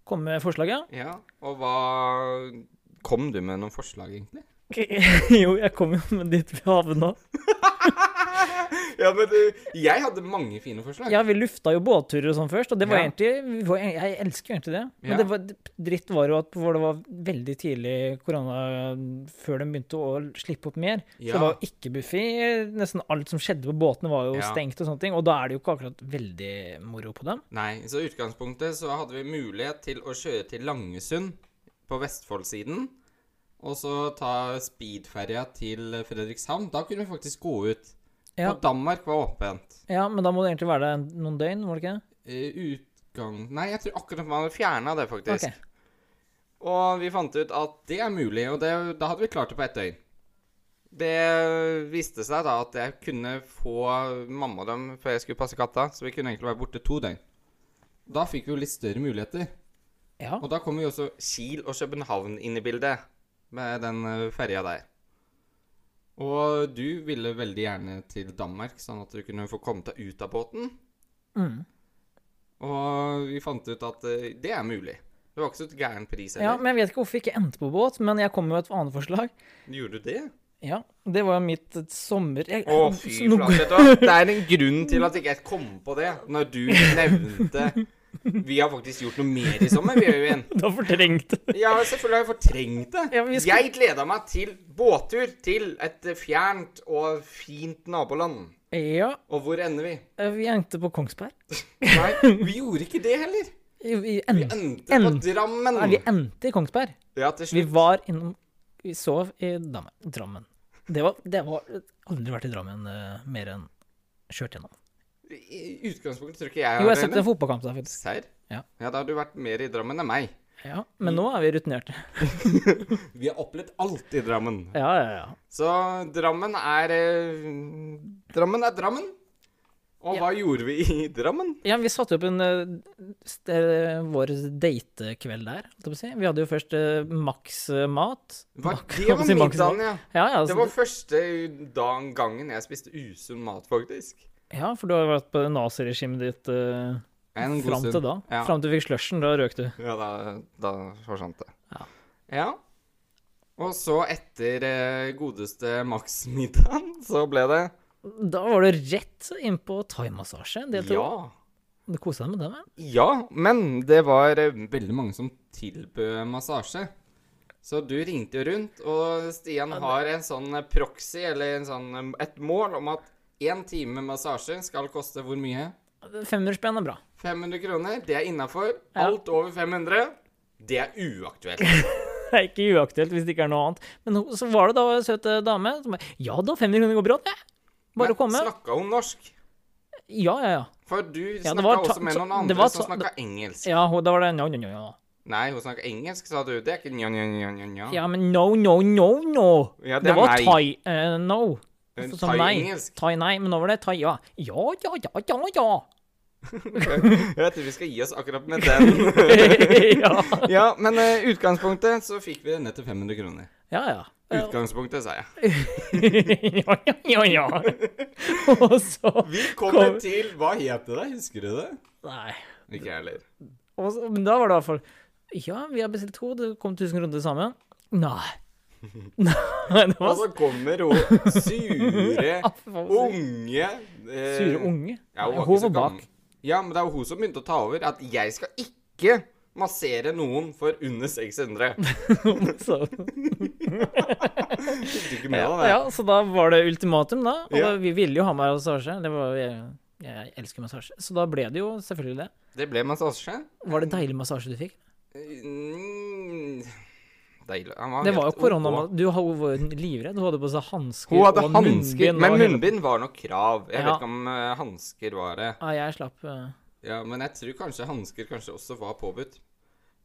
Speaker 1: Kom med forslaget.
Speaker 2: Ja, og hva Kom du med noen forslag, egentlig?
Speaker 1: jo, jeg kom jo med dit vi havna.
Speaker 2: Ja, men du, jeg hadde mange fine forslag.
Speaker 1: Ja, vi lufta jo båtturer og sånn først, og det var
Speaker 2: Ja.
Speaker 1: egentlig vi var, Jeg elsker jo egentlig det. Men
Speaker 2: Ja.
Speaker 1: det var, dritt var jo at hvor det var veldig tidlig korona før de begynte å slippe opp mer. Så
Speaker 2: Ja.
Speaker 1: det var jo ikke buffé. Nesten alt som skjedde på båtene, var jo
Speaker 2: Ja.
Speaker 1: stengt og sånne ting. Og da er det jo ikke akkurat veldig moro på dem.
Speaker 2: Nei, så i utgangspunktet så hadde vi mulighet til å kjøre til Langesund på Vestfoldsiden, og så ta speedferja til Fredrikshavn. Da kunne vi faktisk gå ut.
Speaker 1: Ja.
Speaker 2: Og Danmark var åpent.
Speaker 1: Ja, men da må det egentlig være der noen døgn, må det ikke? det?
Speaker 2: Eh, Utgang Nei, jeg tror akkurat man hadde fjerna det, faktisk.
Speaker 1: Ok.
Speaker 2: Og vi fant ut at det er mulig, og det, da hadde vi klart det på ett døgn. Det viste seg da at jeg kunne få mamma og dem før jeg skulle passe katta, så vi kunne egentlig være borte to døgn. Da fikk vi jo litt større muligheter.
Speaker 1: Ja.
Speaker 2: Og da kommer jo også Kiel og København inn i bildet, med den eh, ferja der. Og du ville veldig gjerne til Danmark, sånn at du kunne få komme deg ut av båten.
Speaker 1: Mm.
Speaker 2: Og vi fant ut at eh, det er mulig. Det var ikke så gæren pris
Speaker 1: ja,
Speaker 2: heller.
Speaker 1: men jeg vet ikke hvorfor jeg ikke endte på båt, men jeg kom med et annet forslag.
Speaker 2: Gjorde du det?
Speaker 1: Ja, det var jo mitt eh, sommer... Jeg,
Speaker 2: Å, fy
Speaker 1: så nå-
Speaker 2: flate. vet du hva? Det er en grunn til at ikke jeg kom på det når du nevnte Vi har faktisk gjort noe mer i sommer, vi, Øyvind.
Speaker 1: Da fortrengte
Speaker 2: Ja, selvfølgelig har jeg fortrengt det.
Speaker 1: Ja, men vi skal-
Speaker 2: Jeg gleda meg til båttur til et fjernt og fint naboland.
Speaker 1: Ja,
Speaker 2: Og hvor ender vi?
Speaker 1: eh, vi endte på Kongsberg.
Speaker 2: Nei, vi gjorde ikke det heller.
Speaker 1: Vi, vi,
Speaker 2: Vi
Speaker 1: endte,
Speaker 2: endte på
Speaker 1: End-
Speaker 2: Drammen.
Speaker 1: nei, vi endte i Kongsberg.
Speaker 2: Ja, til
Speaker 1: Vi
Speaker 2: slutt.
Speaker 1: var innom Vi sov i Drammen. Drammen. Det var, det var Aldri vært i Drammen eh, mer enn kjørt gjennom.
Speaker 2: I utgangspunktet tror ikke jeg
Speaker 1: Jo, jeg
Speaker 2: har
Speaker 1: har sett en fotballkamp der, faktisk.
Speaker 2: Serr?
Speaker 1: Ja.
Speaker 2: ja, da har du vært mer i Drammen enn meg.
Speaker 1: Ja, men
Speaker 2: Mm.
Speaker 1: nå er vi rutinerte.
Speaker 2: Vi har opplevd alt i Drammen.
Speaker 1: Ja, ja, ja.
Speaker 2: Så Drammen er eh, Drammen er Drammen. Og hva gjorde vi i Drammen?
Speaker 1: Ja, Vi satte opp en eh, st- eh, vår datekveld der. holdt jeg på å si. Vi hadde jo først eh, maks eh, mat.
Speaker 2: Hva,
Speaker 1: Mak-
Speaker 2: det var
Speaker 1: holdt jeg på å si, maks mat.
Speaker 2: middagen, ja.
Speaker 1: Ja, ja,
Speaker 2: Det
Speaker 1: altså,
Speaker 2: var første dagen gangen jeg spiste usunn mat, faktisk.
Speaker 1: ja, for du har vært på naziregimet ditt eh,
Speaker 2: En god
Speaker 1: fram til
Speaker 2: stund.
Speaker 1: da.
Speaker 2: Ja.
Speaker 1: Fram til du fikk slushen. Da røk du.
Speaker 2: Ja, da, da forsvant det.
Speaker 1: Ja.
Speaker 2: ja. Og så, etter eh, godeste Max-middagen, så ble det
Speaker 1: Da var du rett inn på thaimassasje. Del to.
Speaker 2: ja.
Speaker 1: Du kosa deg med det? vel?
Speaker 2: Ja, men det var eh, veldig mange som tilbød massasje. Så du ringte jo rundt, og Stian har en sånn eh, proxy, eller en sånn, eh, et mål om at én time massasje skal koste hvor mye?
Speaker 1: 500 spenn er bra.
Speaker 2: 500 kroner. Det er innafor.
Speaker 1: Ja.
Speaker 2: Alt over 500, det er uaktuelt.
Speaker 1: Det er ikke uaktuelt hvis det ikke er noe annet. Men hun- så var det da en søt eh, dame som bare Ja da, 500 kroner går bra, det. Bare å komme.
Speaker 2: Snakka hun norsk?
Speaker 1: Ja, ja, ja.
Speaker 2: For du
Speaker 1: det
Speaker 2: snakka
Speaker 1: var ta-
Speaker 2: også med
Speaker 1: så-
Speaker 2: noen
Speaker 1: det var
Speaker 2: andre som
Speaker 1: ta-
Speaker 2: snakka engelsk.
Speaker 1: Ja, hun, da var det ja, ja, ja, ja.
Speaker 2: Nei, hun snakker engelsk, sa du. Det er ikke nja, nja, nja, nja, nja.
Speaker 1: Ja, men no, no, no, no.
Speaker 2: Ja,
Speaker 1: Det var
Speaker 2: nei.
Speaker 1: thai eh, no.
Speaker 2: Men
Speaker 1: Så som
Speaker 2: thai
Speaker 1: nei.
Speaker 2: engelsk.
Speaker 1: Thai nei, men nå var det thai ja. Ja, ja, ja, ja, ja.
Speaker 2: Jeg tror vi skal gi oss akkurat med den.
Speaker 1: ja.
Speaker 2: ja, men eh, utgangspunktet så fikk vi denne til 500 kroner.
Speaker 1: ja, ja. Eh,
Speaker 2: Utgangspunktet, sa jeg.
Speaker 1: ja, ja, ja, ja. Og så
Speaker 2: Vi
Speaker 1: Kom.
Speaker 2: til Hva het det? Husker du det?
Speaker 1: Nei.
Speaker 2: Ikke jeg heller.
Speaker 1: Og så, men da var det i hvert fall Ja, vi har bestilt to, det kom 1000 kroner til sammen. Nei. Nei, det
Speaker 2: Og
Speaker 1: var
Speaker 2: så kommer hun sure,
Speaker 1: Sure
Speaker 2: unge eh,
Speaker 1: unge.
Speaker 2: Ja, hun
Speaker 1: Hun
Speaker 2: var, ikke så
Speaker 1: var bak.
Speaker 2: gammel. Ja, men det er jo hun som begynte å ta over. At jeg skal ikke massere noen for under 600.
Speaker 1: Så,
Speaker 2: Fikk du ikke med deg det?
Speaker 1: ja, så da var det ultimatum, da. Og da,
Speaker 2: Ja.
Speaker 1: vi ville jo ha meg massasje. Det var, jeg, jeg elsker massasje. Så da ble det jo selvfølgelig det.
Speaker 2: Det ble massasje.
Speaker 1: Var det deilig massasje du fikk?
Speaker 2: Mm, Deilig. Han var
Speaker 1: Det var jo
Speaker 2: helt
Speaker 1: korona.
Speaker 2: ok.
Speaker 1: Du ha- hun var jo livredd. Hun hadde på seg hansker
Speaker 2: Hun hadde
Speaker 1: og
Speaker 2: hansker,
Speaker 1: munnbind
Speaker 2: men
Speaker 1: og hele-
Speaker 2: munnbind var nok krav. Jeg
Speaker 1: Ja.
Speaker 2: vet ikke om eh, hansker var det.
Speaker 1: Ja, jeg slapp eh,
Speaker 2: Ja, Men jeg tror kanskje hansker kanskje også var påbudt.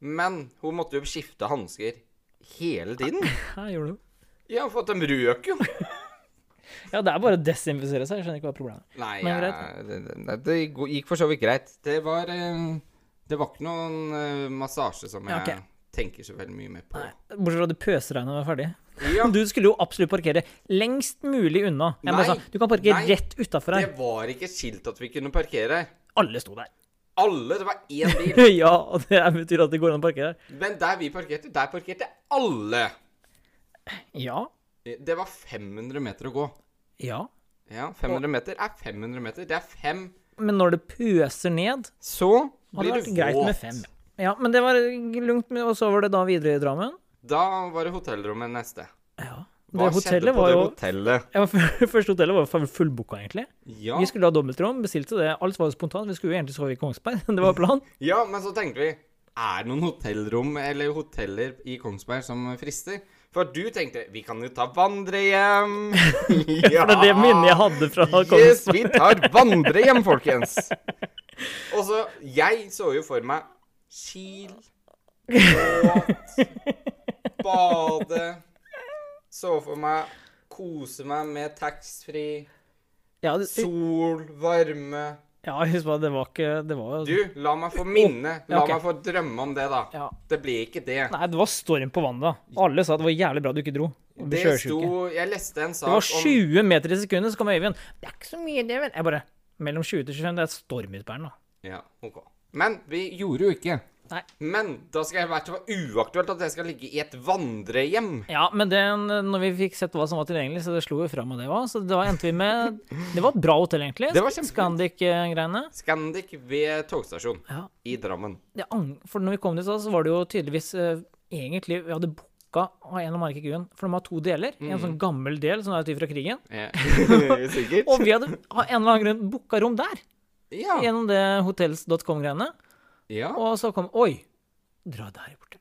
Speaker 2: Men hun måtte jo skifte hansker hele tiden.
Speaker 1: Hæ, gjorde du?
Speaker 2: Ja, for at de røk jo.
Speaker 1: Ja, det er bare å desinfisere seg. Jeg skjønner ikke hva problemet er.
Speaker 2: Nei,
Speaker 1: Men
Speaker 2: jeg- det, det, det gå- gikk for så vidt greit. Det var eh, Det var ikke noen eh, massasje som
Speaker 1: Ja,
Speaker 2: jeg
Speaker 1: ok.
Speaker 2: tenker så veldig mye mer på.
Speaker 1: Nei, Bortsett fra at det pøsregna da jeg var ferdig.
Speaker 2: Ja,
Speaker 1: Du skulle jo absolutt parkere lengst mulig unna. Jeg bare
Speaker 2: Nei.
Speaker 1: sa, du kan parkere
Speaker 2: Nei.
Speaker 1: rett utafor
Speaker 2: det
Speaker 1: her.
Speaker 2: var ikke skilt at vi kunne parkere.
Speaker 1: Alle sto der.
Speaker 2: Alle, det var én bil.
Speaker 1: ja, og det betyr at det går an å parkere her.
Speaker 2: Men der vi parkerte, der parkerte alle.
Speaker 1: Ja.
Speaker 2: Det var 500 meter å gå.
Speaker 1: Ja.
Speaker 2: Ja, 500 meter er 500 meter. Det er fem.
Speaker 1: Men når det pøser ned,
Speaker 2: Så
Speaker 1: hadde
Speaker 2: blir
Speaker 1: det
Speaker 2: du
Speaker 1: vært greit med
Speaker 2: våt.
Speaker 1: fem. Ja, men det var lugnt, med- og så var det da videre i Drammen.
Speaker 2: Da var det hotellrommet neste.
Speaker 1: Ja.
Speaker 2: Hva
Speaker 1: Det hotellet
Speaker 2: skjedde på
Speaker 1: var
Speaker 2: det
Speaker 1: jo
Speaker 2: hotellet?
Speaker 1: ja, Første hotellet var jo fullbooka, egentlig.
Speaker 2: Ja.
Speaker 1: Vi skulle ha dobbeltrom, bestilte det. Alt var jo spontant. Vi skulle jo egentlig sove i Kongsberg. Det var planen.
Speaker 2: ja, men så tenkte vi Er det noen hotellrom eller hoteller i Kongsberg som frister? For du tenkte Vi kan jo ta vandrehjem.
Speaker 1: For
Speaker 2: ja.
Speaker 1: det er det minnet jeg hadde fra
Speaker 2: Yes,
Speaker 1: Kongsberg.
Speaker 2: vi tar vandrehjem, folkens! Og så Jeg så jo for meg Kiel, båt, bade Så for meg kose meg med taxfree,
Speaker 1: Ja, det-
Speaker 2: sol, varme
Speaker 1: ja, husk på, det var ikke Det var
Speaker 2: Du,
Speaker 1: jo
Speaker 2: la meg få minne. La
Speaker 1: Ja, ok.
Speaker 2: meg få drømme om det, da.
Speaker 1: ja.
Speaker 2: Det ble ikke det.
Speaker 1: Nei, det var storm på vannet. da. Alle sa det var jævlig bra du ikke dro. og ble
Speaker 2: Det
Speaker 1: sjøsjuke.
Speaker 2: sto Jeg leste en
Speaker 1: Det var
Speaker 2: sak om
Speaker 1: 20 meter i sekundet, så kom Øyvind. Det er ikke så mye, det, vel. Jeg bare Mellom 20 til 25, det er storm ute på den, da.
Speaker 2: Ja, ok. Men vi gjorde jo ikke.
Speaker 1: Nei.
Speaker 2: Men da skal jeg i hvert fall uaktuelt at jeg skal ligge i et vandrehjem.
Speaker 1: Ja, men den, når vi fikk sett hva som var tilgjengelig, så det slo jo fra meg det òg. Så da endte vi med Det var et bra hotell, egentlig.
Speaker 2: Det var kjempefint.
Speaker 1: Scandic-greiene.
Speaker 2: Scandic ved togstasjon
Speaker 1: Ja.
Speaker 2: i Drammen.
Speaker 1: Det ang- For når vi kom dit, så så var det jo tydeligvis eh, egentlig Vi hadde booka av en av markedgrunn, for de har to deler.
Speaker 2: Mm.
Speaker 1: En sånn gammel del som er ut fra krigen.
Speaker 2: Eh, Sikkert.
Speaker 1: Og vi hadde av en eller annen grunn booka rom der.
Speaker 2: ja.
Speaker 1: Gjennom det hotels.com-greiene.
Speaker 2: ja.
Speaker 1: Og så kom Oi, dra der borte.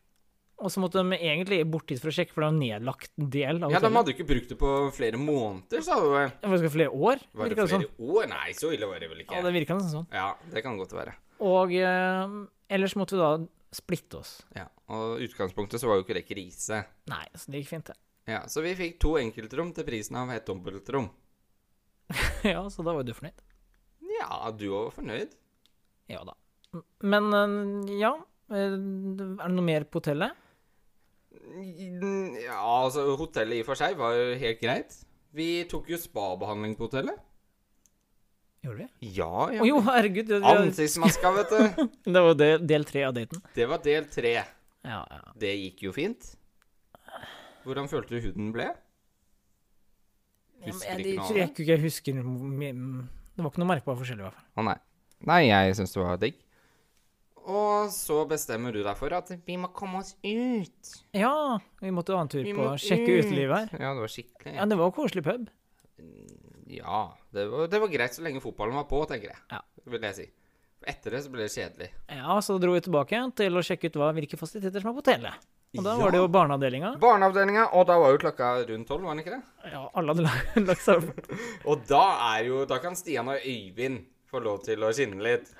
Speaker 1: Og så måtte de egentlig bort dit for å sjekke, for det var en nedlagt del av
Speaker 2: Ja, de
Speaker 1: hotellet.
Speaker 2: hadde jo ikke brukt det på flere måneder, sa du vel?
Speaker 1: Det var kanskje flere år,
Speaker 2: Var det
Speaker 1: virka det som.
Speaker 2: flere år? Nei, så ille var det vel
Speaker 1: Ja,
Speaker 2: ikke.
Speaker 1: det virka nesten sånn.
Speaker 2: Ja, det kan godt være.
Speaker 1: Og eh, ellers måtte vi da splitte oss.
Speaker 2: Ja, Og utgangspunktet så var jo ikke det krise.
Speaker 1: Nei, så det gikk fint, det.
Speaker 2: Ja, Så vi fikk to enkeltrom til prisen av et dobbeltrom.
Speaker 1: ja, så da var jo du fornøyd.
Speaker 2: Ja, du var fornøyd?
Speaker 1: Ja da. M- Men eh, ja eh, Er det noe mer på hotellet?
Speaker 2: Mm, Ja, altså, hotellet i og for seg var helt greit. Vi tok jo spabehandling på hotellet.
Speaker 1: Gjorde vi?
Speaker 2: Ja,
Speaker 1: Å jo, herregud. Det, det,
Speaker 2: Ansiktsmaska, vet du.
Speaker 1: det var del, del tre av daten.
Speaker 2: Det var del tre.
Speaker 1: Ja, ja.
Speaker 2: Det gikk jo fint. Hvordan følte du huden ble? Husker
Speaker 1: Jeg,
Speaker 2: ikke
Speaker 1: jeg,
Speaker 2: noe
Speaker 1: tror
Speaker 2: av
Speaker 1: jeg
Speaker 2: det?
Speaker 1: ikke jeg husker mye- Det var ikke noe merkbar forskjell, i hvert fall.
Speaker 2: Å nei. Nei, jeg syns det var digg. Og så bestemmer du deg for at vi må komme oss ut.
Speaker 1: Ja, vi måtte ha en tur
Speaker 2: Vi
Speaker 1: på
Speaker 2: må
Speaker 1: å sjekke
Speaker 2: ut.
Speaker 1: utelivet her.
Speaker 2: Ja, det var skikkelig.
Speaker 1: Ja, det var koselig pub.
Speaker 2: Ja, det var, det var greit så lenge fotballen var på, tenker jeg.
Speaker 1: Ja.
Speaker 2: Vil jeg si. Etter det så ble det kjedelig.
Speaker 1: Ja, så dro vi tilbake til å sjekke ut hva, hvilke fasiliteter som er på hotellet. Og da
Speaker 2: Ja.
Speaker 1: var det jo barneavdelinga.
Speaker 2: Barneavdelinga, og da var jo klokka rundt tolv, var den ikke det?
Speaker 1: Ja, alle hadde la- lagt seg opp.
Speaker 2: Og da er jo Da kan Stian og Øyvind få lov til å skinne litt.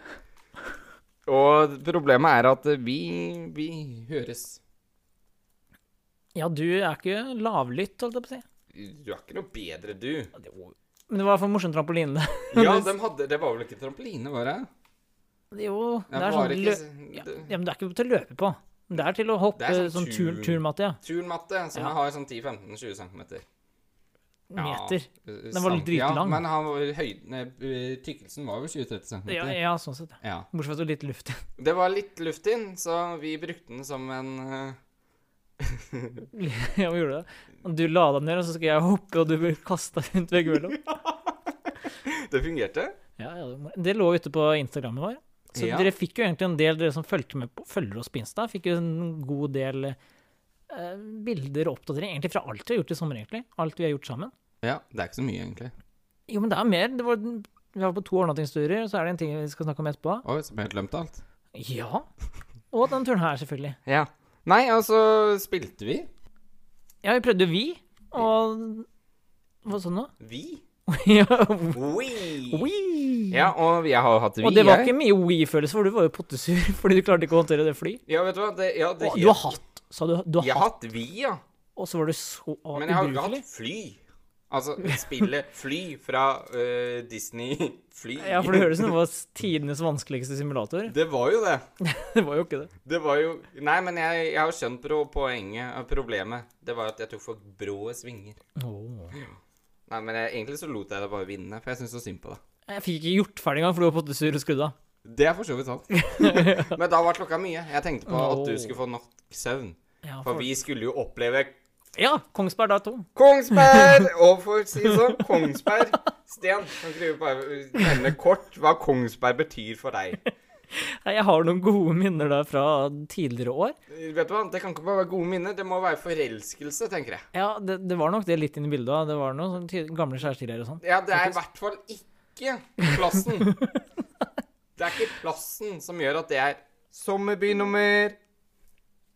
Speaker 2: Og problemet er at vi, vi høres.
Speaker 1: Ja, du er ikke lavlytt, holdt jeg på å si.
Speaker 2: Du er ikke noe bedre, du.
Speaker 1: Ja, det var- Men det var i hvert fall morsom trampoline. det.
Speaker 2: Ja, de hadde, det var vel ikke trampoline, var det?
Speaker 1: Det er jo det
Speaker 2: Ja,
Speaker 1: er
Speaker 2: var
Speaker 1: sånn
Speaker 2: det
Speaker 1: lø...
Speaker 2: ikke
Speaker 1: ja,
Speaker 2: det-
Speaker 1: ja, men det er ikke til å løpe på. Det er til å hoppe
Speaker 2: Det er sånn
Speaker 1: sånn tur,
Speaker 2: tur-
Speaker 1: turmatte, ja.
Speaker 2: Turnmatte, som
Speaker 1: Ja.
Speaker 2: har sånn 10-15-20 cm.
Speaker 1: Meter. Den var litt
Speaker 2: eh, Ja,
Speaker 1: dritlang.
Speaker 2: men han var, høyden, eh, tykkelsen var jo 20-30 cm.
Speaker 1: Ja, ja, sånn sett. ja.
Speaker 2: Ja.
Speaker 1: Bortsett fra at det var litt luft.
Speaker 2: Det var litt luft inn, så vi brukte den som en eh,
Speaker 1: ja, vi gjorde det. Og du la deg ned, og så skal jeg hoppe, og du ble kasta rundt ved gulvet.
Speaker 2: Det fungerte.
Speaker 1: Ja, ja, det må- det lå ute på Instagrammen vår. Så
Speaker 2: Ja.
Speaker 1: dere fikk jo egentlig en del, dere som fulgte med på, følger oss på Insta, fikk jo en god del eh, bilder og oppdateringer, egentlig fra alt vi har gjort i sommer, egentlig. Alt vi har gjort sammen.
Speaker 2: Ja, det er ikke så mye, egentlig.
Speaker 1: Jo, men det er mer. Det var, vi var på to overnattingsturer, og så er det en ting vi skal snakke om etterpå.
Speaker 2: Oi, så ble jeg glemt alt.
Speaker 1: Ja. Og den turen her, selvfølgelig.
Speaker 2: Ja. Nei, og så spilte vi.
Speaker 1: Ja, vi prøvde jo vi, og Hva sa du nå?
Speaker 2: Vi?
Speaker 1: Ja,
Speaker 2: We!
Speaker 1: Wii!
Speaker 2: Ja, og jeg har hatt vi,
Speaker 1: og det var
Speaker 2: jeg.
Speaker 1: ikke mye Wii-følelse, for du var jo pottesur fordi du klarte ikke å håndtere det fly.
Speaker 2: Ja, vet du hva? Det, ja, det
Speaker 1: Og du har hatt, sa du, du har
Speaker 2: Jeg
Speaker 1: hatt,
Speaker 2: har hatt vi, ja.
Speaker 1: og så var du så
Speaker 2: Men jeg har ikke
Speaker 1: ubrukelig.
Speaker 2: hatt fly. Altså spillet Fly fra øh, Disney Fly.
Speaker 1: Ja, for det høres ut som det var tidenes vanskeligste simulator.
Speaker 2: Det var jo det.
Speaker 1: Det var jo ikke det.
Speaker 2: Det var jo Nei, men jeg, jeg har skjønt pro poenget øh, Problemet. Det var at jeg tok for brå svinger. Nei, men jeg, egentlig så lot jeg det bare vinne, for jeg syns så synd på det.
Speaker 1: Jeg fikk ikke gjort ferdig engang, for du var pottesur og skrudde av.
Speaker 2: Det er for så vidt sant. men da var klokka mye. Jeg tenkte på at du skulle få nok søvn.
Speaker 1: Ja,
Speaker 2: For
Speaker 1: for-
Speaker 2: vi skulle jo oppleve
Speaker 1: ja, Kongsberg da tom.
Speaker 2: Kongsberg! Og for å si det sånn, Kongsberg Sten, kan ikke du bare nevne kort hva Kongsberg betyr for deg?
Speaker 1: Nei, Jeg har noen gode minner der fra tidligere år.
Speaker 2: Vet du hva, Det kan ikke bare være gode minner, det må være forelskelse, tenker jeg.
Speaker 1: Ja, det, det var nok det litt inn i bildet. da. Det var noen sånne ty- gamle kjærester og sånn.
Speaker 2: Ja, Det er i hvert fall ikke plassen. Det er ikke plassen som gjør at det er sommerby nummer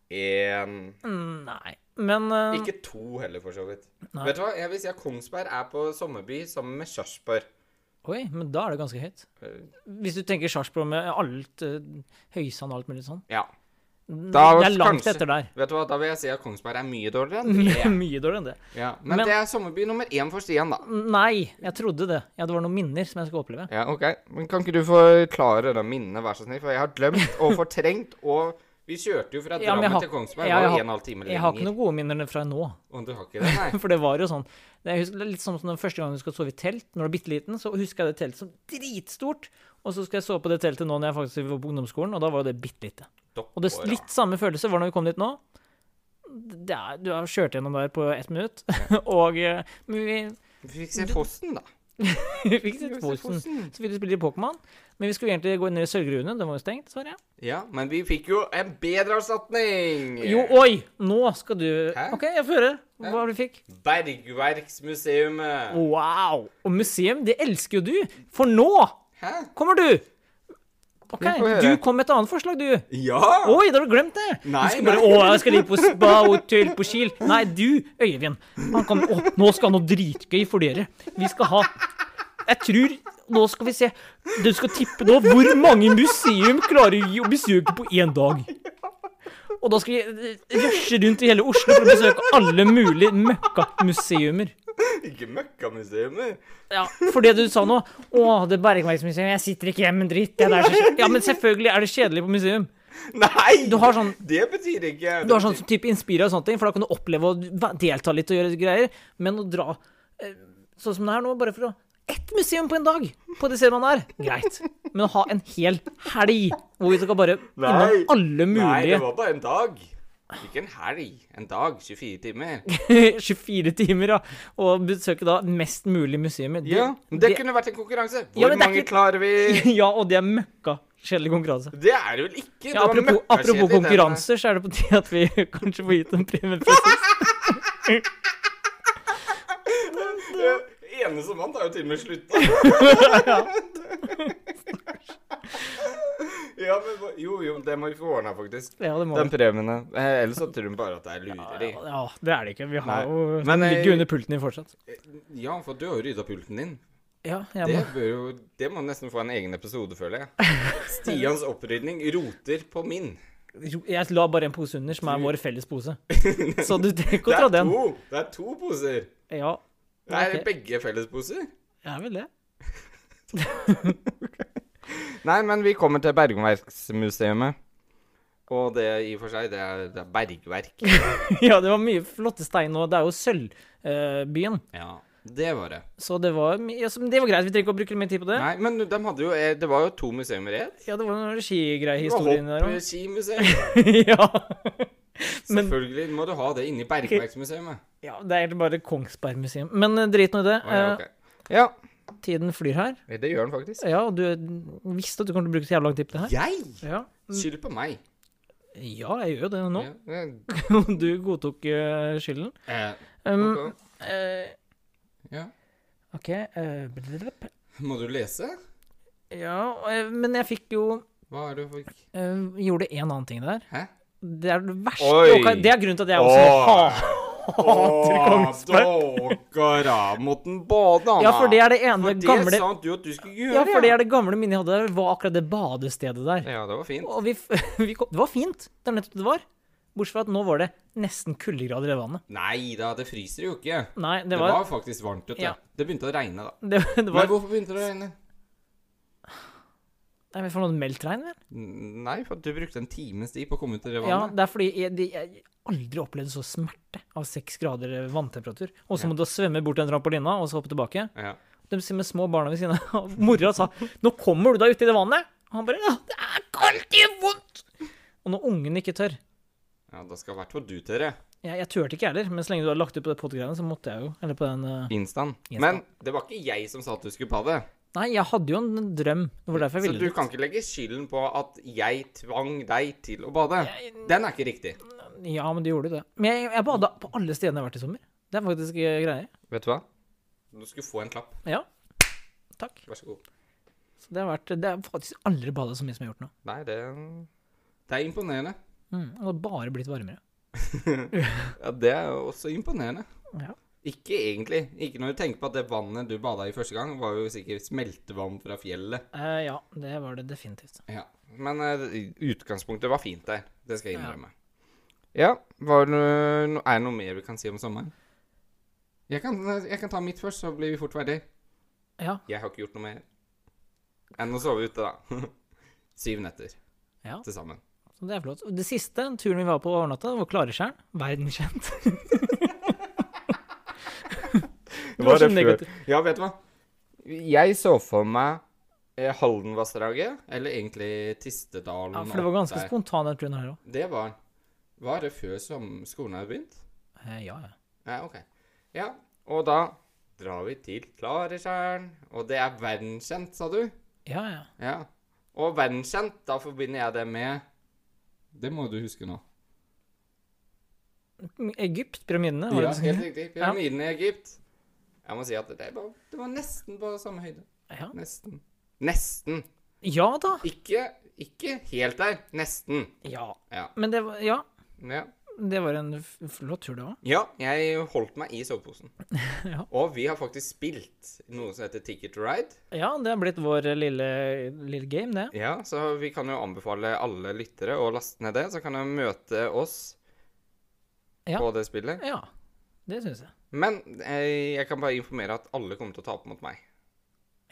Speaker 2: én.
Speaker 1: Mm, Nei. Men eh,
Speaker 2: Ikke to heller, for så vidt.
Speaker 1: Nei.
Speaker 2: Vet du hva, jeg vil si at Kongsberg er på sommerby sammen med Sarpsborg. Eh,
Speaker 1: Oi, men da er det ganske høyt. Hvis du tenker Sarpsborg med alt eh, Høysand og alt mulig sånn.
Speaker 2: Ja.
Speaker 1: Det
Speaker 2: Da
Speaker 1: er langt
Speaker 2: kanskje-
Speaker 1: etter der.
Speaker 2: Vet du hva, Da vil jeg si at Kongsberg er mye dårligere enn det.
Speaker 1: Mye dårligere enn det.
Speaker 2: Ja, men,
Speaker 1: Men-
Speaker 2: det er sommerby nummer én for Stian, da.
Speaker 1: Nei, jeg trodde det. Ja, det var noen minner som jeg skulle oppleve.
Speaker 2: Ja, ok. Men kan ikke du forklare det minnet, vær så snill? For jeg har glemt og fortrengt, og vi kjørte jo
Speaker 1: Ja,
Speaker 2: fra Drammen
Speaker 1: men jeg har-
Speaker 2: til Kongsberg.
Speaker 1: jeg
Speaker 2: Det
Speaker 1: har-
Speaker 2: var jo en og en halv time lenger.
Speaker 1: Jeg har ikke noen gode minner fra nå.
Speaker 2: Og du har ikke det, nei?
Speaker 1: For det var jo sånn det er, hus- det er Litt som den første gangen du skal sove i telt. Når du er bitte liten, så husker jeg det teltet som dritstort. Og så skal jeg sove på det teltet nå når jeg faktisk var på ungdomsskolen, og da var det bitte lite. Og det
Speaker 2: Dokkår,
Speaker 1: s-
Speaker 2: ja.
Speaker 1: litt samme følelse var når vi kom dit nå. Det er, du har kjørt gjennom der på ett minutt, og eh, men
Speaker 2: Vi fikk se Fossen, da.
Speaker 1: vi fikk
Speaker 2: Vi
Speaker 1: sett
Speaker 2: fikk se
Speaker 1: Fosen. Så ville vi spille Pokémon, men vi skulle egentlig gå ned i Sølvgruvene. Den var jo stengt, dessverre.
Speaker 2: Ja, men vi fikk jo en bedre erstatning!
Speaker 1: Jo, oi! Nå skal du
Speaker 2: Hæ?
Speaker 1: OK, jeg får høre hva var det du fikk.
Speaker 2: Bergverksmuseet.
Speaker 1: Wow! Og museum, det elsker jo du! For nå
Speaker 2: Hæ?
Speaker 1: kommer du! OK,
Speaker 2: Vi får høre.
Speaker 1: du kom med et annet forslag, du.
Speaker 2: Ja!
Speaker 1: Oi, da har du glemt det!
Speaker 2: Nei,
Speaker 1: du skal bare,
Speaker 2: nei.
Speaker 1: Å, jeg skal ligge på spa, hotell på Kiel. Nei, du, Øyvind. Han kom, å, nå skal han ha noe dritgøy for dere. Vi skal ha Jeg tror Nå skal vi se. Du skal tippe nå hvor mange museum klarer vi å besøke på én dag. Og da skal vi eh, rushe rundt i hele Oslo for å besøke alle mulige møkkamuseumer.
Speaker 2: Ikke Møkkamuseet.
Speaker 1: Ja, for det du sa nå Å, det er Bergverksmuseet. Jeg sitter ikke hjemme en dritt. Det er så kjedelig. Ja, men selvfølgelig er det kjedelig på museum.
Speaker 2: Nei!
Speaker 1: Du har sånn
Speaker 2: Det betyr ikke
Speaker 1: du har sånn som type Inspira og sånne ting, for da kan du oppleve å va- delta litt og gjøre greier. Men å dra eh, sånn som det er nå, bare for å Ett museum på en dag! På det stedet man er. Greit. Men å ha en hel helg hvor vi skal bare innom alle
Speaker 2: Nei, det
Speaker 1: mulige
Speaker 2: var bare en dag. Ikke en helg. En dag. 24 timer.
Speaker 1: 24 timer, ja, og besøke da mest mulig museumer. Det-
Speaker 2: Ja, men det kunne vært en konkurranse. Hvor
Speaker 1: Ja, men det er
Speaker 2: mange
Speaker 1: ikke-
Speaker 2: klarer vi?
Speaker 1: ja, og det er møkka kjedelig konkurranse.
Speaker 2: Det er det vel ikke? Det
Speaker 1: Ja,
Speaker 2: var
Speaker 1: apropos,
Speaker 2: møkkakjedelig,
Speaker 1: apropos
Speaker 2: den.
Speaker 1: konkurranser, så er det på tide at vi kanskje får gitt en premie. presis.
Speaker 2: Det ene som vant, har jo til og med slutta. ja, men hva- jo, jo, det må vi få ordna, faktisk.
Speaker 1: Ja, det må
Speaker 2: Den
Speaker 1: vi.
Speaker 2: premien. eh, Ellers så tror de bare at det er lureri.
Speaker 1: Ja, det er det ikke. Vi har
Speaker 2: Nei.
Speaker 1: jo
Speaker 2: Men,
Speaker 1: Den ligger
Speaker 2: eh,
Speaker 1: under pulten din fortsatt.
Speaker 2: Ja, for du har jo rydda pulten din.
Speaker 1: Ja, jeg
Speaker 2: Det
Speaker 1: må,
Speaker 2: bør jo Det må nesten få en egen episode, føler jeg. Stians opprydning roter på min.
Speaker 1: Jo, jeg la bare en pose under, som er vår felles pose. Så du trenger ikke å dra
Speaker 2: det er
Speaker 1: den.
Speaker 2: to! Det er to poser.
Speaker 1: Ja,
Speaker 2: Det er
Speaker 1: Ok.
Speaker 2: begge fellesposer.
Speaker 1: det er vel det.
Speaker 2: Nei, men vi kommer til Bergverksmuseet. Og det i og for seg, det er, det er bergverk.
Speaker 1: Ja, det var mye flotte stein, og det er jo Sølvbyen.
Speaker 2: Ja, det var det.
Speaker 1: Så det var, my- ja, så- men det var greit, vi trenger ikke å bruke mer tid på det.
Speaker 2: Nei, men de hadde jo eh, Det var jo to museer i ett.
Speaker 1: Ja, det var noen skigreier i
Speaker 2: Det var
Speaker 1: historien der òg.
Speaker 2: Hoppskimuseet.
Speaker 1: ja. Men
Speaker 2: Selvfølgelig må du ha det inni Bergverksmuseet.
Speaker 1: ja, det er egentlig bare Kongsbergmuseum. Men eh, drit nå i det.
Speaker 2: Å, ja, ok. ja,
Speaker 1: Eh, Tiden flyr her.
Speaker 2: det gjør den faktisk.
Speaker 1: Ja, og du visste at du kom til å bruke så jævla lang tid på det her.
Speaker 2: Jeg?
Speaker 1: Ja.
Speaker 2: Skyld på meg.
Speaker 1: ja, jeg gjør jo det nå.
Speaker 2: Ja, eh,
Speaker 1: Du godtok eh, skylden.
Speaker 2: eh,
Speaker 1: Um,
Speaker 2: ok.
Speaker 1: eh,
Speaker 2: Ja.
Speaker 1: OK eh, blablabla.
Speaker 2: Må du lese?
Speaker 1: Ja, eh, men jeg fikk jo
Speaker 2: Hva er det for
Speaker 1: eh, Gjorde en annen ting der.
Speaker 2: Hæ?
Speaker 1: Det er det verste
Speaker 2: Oi.
Speaker 1: og Det er grunnen til at jeg også
Speaker 2: Åh.
Speaker 1: hater Kongsberg.
Speaker 2: Dåkeramoten bade,
Speaker 1: Ja, for det er det ene gamle
Speaker 2: sa du at du skulle gjøre.
Speaker 1: Ja, for det er det gamle minnet jeg hadde der, var akkurat det badestedet der.
Speaker 2: Ja, det var fint.
Speaker 1: Og vi, f- vi kom, det var fint. Det er nettopp det det var. Bortsett fra at nå var det nesten kuldegrader i vannet.
Speaker 2: Nei da, det fryser jo ikke.
Speaker 1: Nei,
Speaker 2: Det
Speaker 1: det
Speaker 2: var,
Speaker 1: var
Speaker 2: faktisk varmt ute.
Speaker 1: Ja.
Speaker 2: Det begynte å regne, da.
Speaker 1: Det, det
Speaker 2: Men
Speaker 1: var
Speaker 2: hvorfor begynte det å regne?
Speaker 1: Nei, men for noe meldt regn, vel?
Speaker 2: N- Nei, for at du brukte en times tid på å komme ut i det
Speaker 1: Ja,
Speaker 2: vannet.
Speaker 1: det er fordi jeg, de, jeg aldri opplevde så smerte av seks grader vanntemperatur. Og så må du svømme bort den trampolina og så hoppe tilbake.
Speaker 2: Ja.
Speaker 1: De sier med små barna ved siden av. og Mora sa 'Nå kommer du deg uti det vannet!' Og han bare 'Ja, det er kaldt, det gjør vondt!' Og når ungen ikke tør
Speaker 2: ja, da skal i hvert fall du tørre.
Speaker 1: Jeg, jeg turte ikke heller, men så lenge du har lagt ut på det podgreiene, så måtte jeg jo. Eller på den eh,
Speaker 2: Instan.
Speaker 1: Instan.
Speaker 2: Men det var ikke jeg som sa at du skulle bade.
Speaker 1: Nei, jeg hadde jo en drøm. Det var derfor jeg
Speaker 2: Så
Speaker 1: ville
Speaker 2: du
Speaker 1: det.
Speaker 2: kan ikke legge skylden på at jeg tvang deg til å bade. Den er ikke riktig.
Speaker 1: Ja, men du gjorde jo det. Men jeg, jeg bada på alle stedene jeg har vært i sommer. Det er faktisk eh, greier.
Speaker 2: Vet du hva? Du skulle få en klapp.
Speaker 1: Ja. Takk.
Speaker 2: Vær så god.
Speaker 1: Så det har vært Det er faktisk aldri bada så mye som jeg har gjort nå.
Speaker 2: Nei, det, det er imponerende.
Speaker 1: Mm, og det har bare blitt varmere.
Speaker 2: Ja, Det er jo også imponerende.
Speaker 1: Ja.
Speaker 2: Ikke egentlig. Ikke når du tenker på at det vannet du bada i første gang, var jo sikkert smeltevann fra fjellet.
Speaker 1: Eh, ja, det var det definitivt.
Speaker 2: Ja. Men eh, utgangspunktet var fint der. Det skal jeg innrømme. Ja, var det, no- er det noe mer vi kan si om sommeren? Jeg kan, jeg kan ta mitt først, så blir vi fort ferdig.
Speaker 1: Ja.
Speaker 2: Jeg har ikke gjort noe mer enn å sove ute, da. Syv netter
Speaker 1: Ja.
Speaker 2: til sammen.
Speaker 1: Så det er flott. Det siste turen vi var på overnatta, var Klaretjern. Verdenskjent. Du var så negativ.
Speaker 2: Ja, vet du hva? Jeg så for meg eh, Haldenvassdraget, eller egentlig Tistedalen.
Speaker 1: Ja, for det var ganske
Speaker 2: der.
Speaker 1: spontan den turen her òg.
Speaker 2: Det var Var det før som skolen hadde begynt?
Speaker 1: Eh, ja, ja.
Speaker 2: Ja, ok. Ja, og da drar vi til Klaretjern, og det er verdenskjent, sa du?
Speaker 1: Ja, ja.
Speaker 2: Ja. Og verdenskjent, da forbinder jeg det med Det må du huske nå.
Speaker 1: Egypt, pyramidene. Var
Speaker 2: Ja,
Speaker 1: det
Speaker 2: helt riktig.
Speaker 1: Ja.
Speaker 2: Pyramiden i Egypt. Jeg må si at det var, det var nesten på samme høyde.
Speaker 1: Ja.
Speaker 2: Nesten. Nesten.
Speaker 1: ja da.
Speaker 2: Ikke, ikke helt der. Nesten.
Speaker 1: Ja.
Speaker 2: Ja.
Speaker 1: Men det var, ja,
Speaker 2: ja.
Speaker 1: det var en f- flott tur, det òg.
Speaker 2: Ja, jeg holdt meg i soveposen.
Speaker 1: Ja.
Speaker 2: Og vi har faktisk spilt noe som heter Ticket to Ride.
Speaker 1: Ja, det har blitt vår eh, lille, lille game, det.
Speaker 2: Ja, så vi kan jo anbefale alle lyttere å laste ned det, så kan de møte oss
Speaker 1: Ja.
Speaker 2: på det spillet.
Speaker 1: Ja. Det syns jeg.
Speaker 2: Men eh, jeg kan bare informere at alle kommer til å tape mot meg.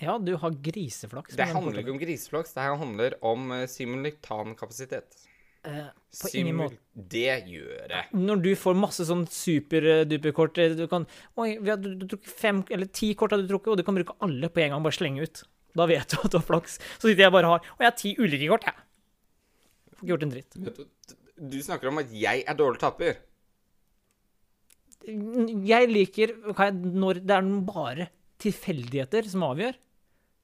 Speaker 1: Ja, du har griseflaks.
Speaker 2: Det handler ikke om griseflaks, det her handler om eh, simultankapasitet.
Speaker 1: eh, På ingen måte.
Speaker 2: Det gjør det.
Speaker 1: Når du får masse sånn superduper-kort eh, Du kan Oi, vi har du, du trukket fem eller ti kort, har du trukket, og du kan bruke alle på en gang. Bare slenge ut. Da vet du at du har flaks. Så sitter jeg bare har Og jeg har ti ulike kort, jeg. Får ikke gjort en dritt.
Speaker 2: Vet Du, du snakker om at jeg er dårlig taper.
Speaker 1: Jeg liker ok, når det er bare tilfeldigheter som avgjør,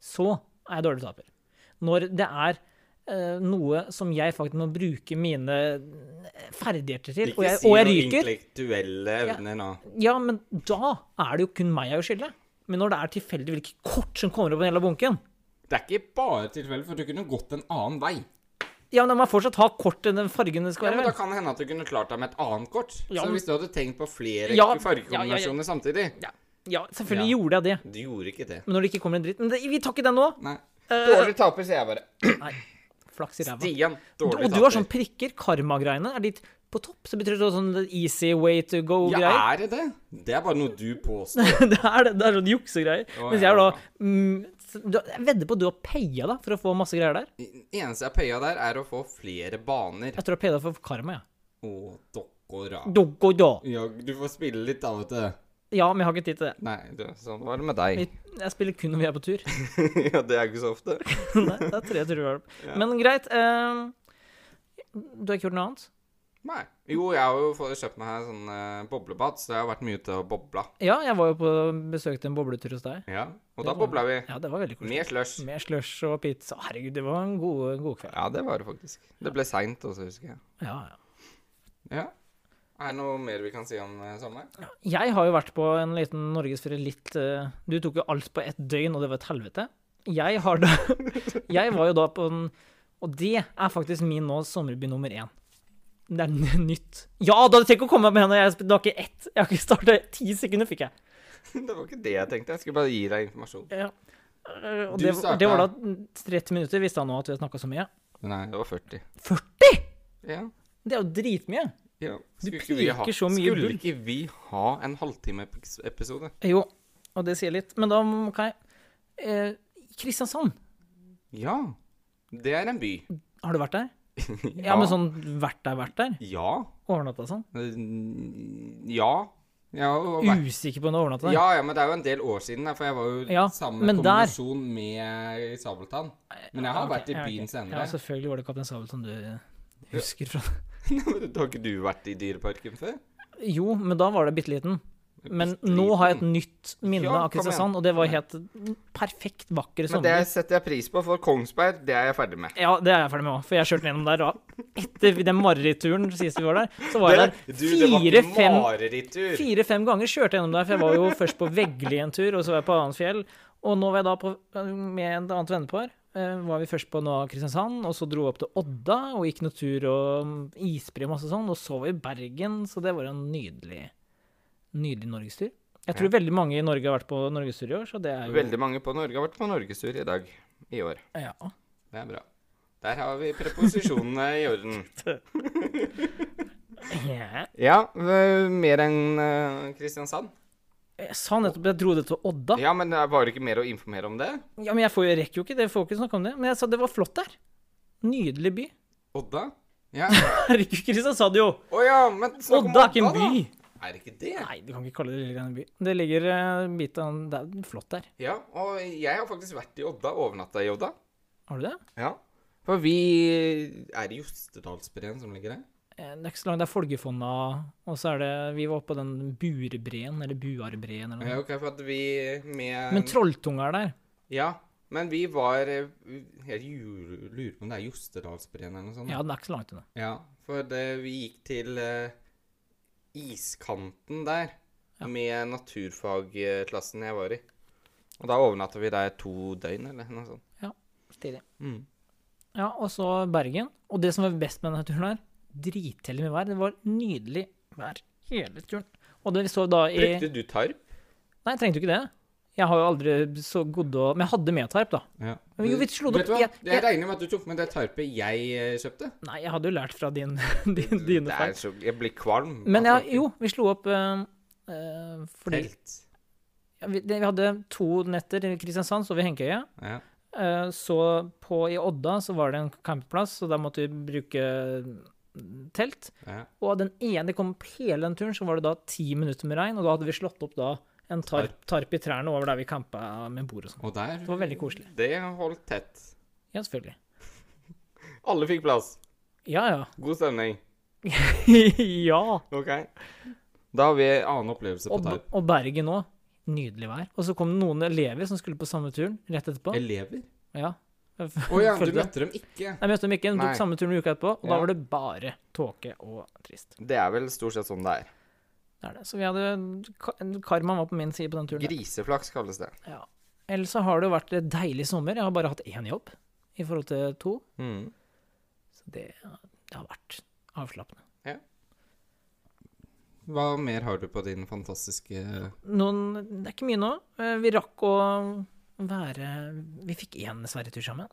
Speaker 1: så er jeg dårlig taper. Når det er eh, noe som jeg faktisk må bruke mine ferdigheter til, og jeg, og jeg
Speaker 2: noen
Speaker 1: ryker
Speaker 2: intellektuelle evner nå.
Speaker 1: Ja, men da er det jo kun meg jeg er skyldig. Men når det er tilfeldig hvilke kort som kommer opp i den hele bunken
Speaker 2: Det er ikke bare tilfeldig, for du kunne gått en annen vei.
Speaker 1: Ja, men da må jeg fortsatt ha kortet den fargen det skal
Speaker 2: Ja, men
Speaker 1: være.
Speaker 2: Da
Speaker 1: vel?
Speaker 2: kan det hende at du kunne klart deg med et annet kort.
Speaker 1: Ja,
Speaker 2: så
Speaker 1: men-
Speaker 2: hvis du hadde tenkt på flere
Speaker 1: Ja,
Speaker 2: fargekombinasjoner
Speaker 1: ja, ja,
Speaker 2: samtidig
Speaker 1: Ja. Ja, selvfølgelig
Speaker 2: Ja.
Speaker 1: gjorde jeg det.
Speaker 2: Du gjorde ikke det.
Speaker 1: Men når det ikke kommer en dritt Men det, vi tar ikke den nå!
Speaker 2: Nei.
Speaker 1: Eh,
Speaker 2: Dårlig taper, sier jeg bare.
Speaker 1: flaks i ræva.
Speaker 2: Stian,
Speaker 1: Og
Speaker 2: dårlig
Speaker 1: du har sånn prikker. Karma-greiene er ditt på topp. Så betyr det sånn easy way to
Speaker 2: Ja,
Speaker 1: go-greier.
Speaker 2: er det det? Det er bare noe du påstår.
Speaker 1: det, er, det er sånn juksegreier.
Speaker 2: Å,
Speaker 1: Mens jeg er da
Speaker 2: ja.
Speaker 1: mm, s- du, Jeg vedder på at du har paya da, for å få masse greier der.
Speaker 2: Eneste jeg pøya der, er å få flere baner.
Speaker 1: Jeg tror jeg paya deg for karma, jeg.
Speaker 2: Å, dokkora.
Speaker 1: Doggo da.
Speaker 2: Ja, du får spille litt, da, vet du.
Speaker 1: Ja, men jeg har ikke tid til det.
Speaker 2: Nei, du, sånn var det med deg.
Speaker 1: Vi- Jeg spiller kun når vi er på tur.
Speaker 2: ja, det er ikke så ofte.
Speaker 1: Nei, det er tre turer. hver. Men greit. eh, du har ikke gjort noe annet?
Speaker 2: Nei. Jo, jeg har jo fått kjøpt meg her sånn eh, boblebad, så jeg har vært mye ute og bobla.
Speaker 1: Ja, jeg var jo på besøk til en bobletur hos deg.
Speaker 2: Ja. Og
Speaker 1: Det
Speaker 2: da
Speaker 1: var-
Speaker 2: bobla vi.
Speaker 1: Ja, det var veldig koselig.
Speaker 2: Med slush.
Speaker 1: Med slush og pizza. Herregud, det var en god, god kveld.
Speaker 2: Ja, det var det faktisk. Det ble seint også, husker jeg.
Speaker 1: Ja, ja.
Speaker 2: Ja. Er det noe mer vi kan si om eh, sommeren?
Speaker 1: Jeg har jo vært på en liten norgesferie litt eh, Du tok jo alt på ett døgn, og det var et helvete. Jeg har da Jeg var jo da på en Og det er faktisk min nå sommerby nummer én. Det er n- nytt. Ja da, tenk å komme med henne! Jeg, det var ikke ett. Jeg har ikke starta. Ti sekunder fikk jeg.
Speaker 2: Det var ikke det jeg tenkte. Jeg skulle bare gi deg informasjon.
Speaker 1: Ja. Eh, Og
Speaker 2: Du
Speaker 1: det,
Speaker 2: starta.
Speaker 1: det var da 30 minutter, visste han nå at vi har snakka så mye.
Speaker 2: Nei, det var 40.
Speaker 1: 40!
Speaker 2: Ja.
Speaker 1: Det er jo dritmye.
Speaker 2: ja.
Speaker 1: Du
Speaker 2: Skulle ikke vi ha-
Speaker 1: pirker så mye
Speaker 2: Skulle
Speaker 1: bull.
Speaker 2: ikke vi ha en halvtime-episode?
Speaker 1: Jo, og det sier litt. Men da må jeg eh, Kristiansand,
Speaker 2: Ja. Det er en by.
Speaker 1: har du vært der? Ja, men sånn vært der, vært der?
Speaker 2: Ja.
Speaker 1: Overnatta sånn?
Speaker 2: Mm, Ja. Jeg har jo vært
Speaker 1: Usikker på om du har overnatta der?
Speaker 2: ja, ja, men det er jo en del år siden, da, for jeg var jo
Speaker 1: Ja,
Speaker 2: sammen
Speaker 1: men
Speaker 2: med
Speaker 1: der- Ah,
Speaker 2: kombinasjon med Sabeltann. Men jeg har
Speaker 1: Ok,
Speaker 2: vært i
Speaker 1: ja, altså. ok.
Speaker 2: byen senere.
Speaker 1: Ja, selvfølgelig var det Kaptein Sabel som du husker fra.
Speaker 2: har ikke du vært i Dyreparken før?
Speaker 1: Jo, men da var det bitte liten. Men nå har jeg et nytt minne
Speaker 2: Ja,
Speaker 1: av
Speaker 2: kom igjen.
Speaker 1: Kristiansand, og det var helt perfekt vakre
Speaker 2: Men det
Speaker 1: sommer.
Speaker 2: setter jeg pris på, for Kongsberg, det er jeg ferdig med.
Speaker 1: Ja, det er jeg ferdig med òg, for jeg kjørte gjennom der. Og etter den mareritturen sist vi var der, så var jeg der fire-fem
Speaker 2: marerittur.
Speaker 1: Fire-fem ganger kjørte jeg gjennom der, for jeg var jo først på Veggli en tur, og så var jeg på Annenfjell. Og nå var jeg da på, med et annet vennepar. eh, Var vi først på nå Kristiansand, og så dro vi opp til Odda og gikk noen tur og mm, isbre og masse sånn. Og så var vi i Bergen, så det var en nydelig, nydelig norgestur. Jeg tror veldig mange i Norge har vært på norgestur i år, så det er jo
Speaker 2: Veldig mange på Norge har vært på norgestur i dag. I år.
Speaker 1: ja.
Speaker 2: Det er bra. Der har vi preposisjonene i orden.
Speaker 1: Yeah.
Speaker 2: Ja, øh, mer enn øh, Kristiansand.
Speaker 1: Jeg sa nettopp jeg dro det til Odda.
Speaker 2: Ja, men øh, det er bare ikke mer å informere om det.
Speaker 1: Ja, men jeg får, jeg rekker jo ikke det, jeg får ikke snakke om det. Men jeg sa det var flott der. Nydelig by.
Speaker 2: Odda? Ja.
Speaker 1: Herregud, Kristiansand, jo!
Speaker 2: Å ja, men snakk om
Speaker 1: Odda er ikke en by!
Speaker 2: da. Er det ikke det?
Speaker 1: Nei, du kan ikke kalle det lille grann by. Det ligger eh, en bit av Det er flott der.
Speaker 2: Ja, og jeg har faktisk vært i Odda, overnatta i Odda.
Speaker 1: Har du det?
Speaker 2: Ja. For vi Er det Jostedalsbreen som ligger der?
Speaker 1: Eh, Det er ikke så langt. Det er Folgefonna, og så er det Vi var oppå den Burebreen, eller Buarbreen, eller noe.
Speaker 2: Ja, ok, for at vi med
Speaker 1: Mm. Men Trolltunga er der.
Speaker 2: Ja, men vi var eh, Jeg ju- lurer på om det er Jostedalsbreen eller noe sånt.
Speaker 1: Ja, den er ikke så langt unna.
Speaker 2: Ja, for det, vi gikk til eh, iskanten der med naturfagklassen jeg var i. Og da overnatta vi der to døgn, eller noe sånt.
Speaker 1: Stilig.
Speaker 2: Mm.
Speaker 1: Ja, og så Bergen. Og det som var best med denne turen her, dritheldig med vær. Det var nydelig vær hele turen. Og det vi så da i
Speaker 2: Brukte du tarp?
Speaker 1: Nei, trengte jo ikke det. Jeg har jo aldri så gode å Men jeg hadde med tarp, da.
Speaker 2: Ja.
Speaker 1: Men jo, vi slo det
Speaker 2: Vet
Speaker 1: opp.
Speaker 2: du hva?
Speaker 1: Jeg,
Speaker 2: Jeg,
Speaker 1: jeg,
Speaker 2: regner med at du tok med det tarpet jeg eh, kjøpte.
Speaker 1: nei, jeg hadde jo lært fra din, din, dine
Speaker 2: det
Speaker 1: feil.
Speaker 2: er så, jeg blir kvalm.
Speaker 1: Men
Speaker 2: av
Speaker 1: jeg, jo, vi slo opp eh, eh, fordi
Speaker 2: Telt.
Speaker 1: ja, vi, det, vi hadde to netter i Kristiansand, så vi Henkøye.
Speaker 2: Ja.
Speaker 1: Eh, så på, i Odda så var det en campingplass, så da måtte vi bruke mm, telt.
Speaker 2: Ja.
Speaker 1: Og den ene kom opp hele den turen, så var det da ti minutter med regn, og da hadde vi slått opp da en tarp, tarp i trærne over der vi campa med bord og sånn.
Speaker 2: Og der
Speaker 1: Det var veldig koselig.
Speaker 2: Det holdt tett.
Speaker 1: Ja, selvfølgelig.
Speaker 2: Alle fikk plass.
Speaker 1: Ja, ja.
Speaker 2: God stemning.
Speaker 1: ja.
Speaker 2: OK. Da har vi annen opplevelse på
Speaker 1: Og,
Speaker 2: tarp.
Speaker 1: og Bergen òg. Nydelig vær. Og så kom det noen elever som skulle på samme turen rett etterpå.
Speaker 2: Elever?
Speaker 1: Ja.
Speaker 2: Å ja, du
Speaker 1: Følte-
Speaker 2: møtte dem ikke.
Speaker 1: Jeg møtte dem ikke, de
Speaker 2: Nei.
Speaker 1: tok samme turen uka etterpå, og da
Speaker 2: Ja.
Speaker 1: var det bare tåke og trist.
Speaker 2: Det er vel stort sett sånn det er.
Speaker 1: Det er det. Så vi hadde ka- Karmaen var på min side på den turen. der.
Speaker 2: Griseflaks kalles det.
Speaker 1: Ja. Ellers så har det jo vært en deilig sommer. Jeg har bare hatt én jobb i forhold til to.
Speaker 2: Mm.
Speaker 1: Så det, det har vært avslappende.
Speaker 2: Hva mer har du på din fantastiske
Speaker 1: Noen, det er ikke mye nå. Eh, Vi rakk å være Vi fikk én sverretur sammen.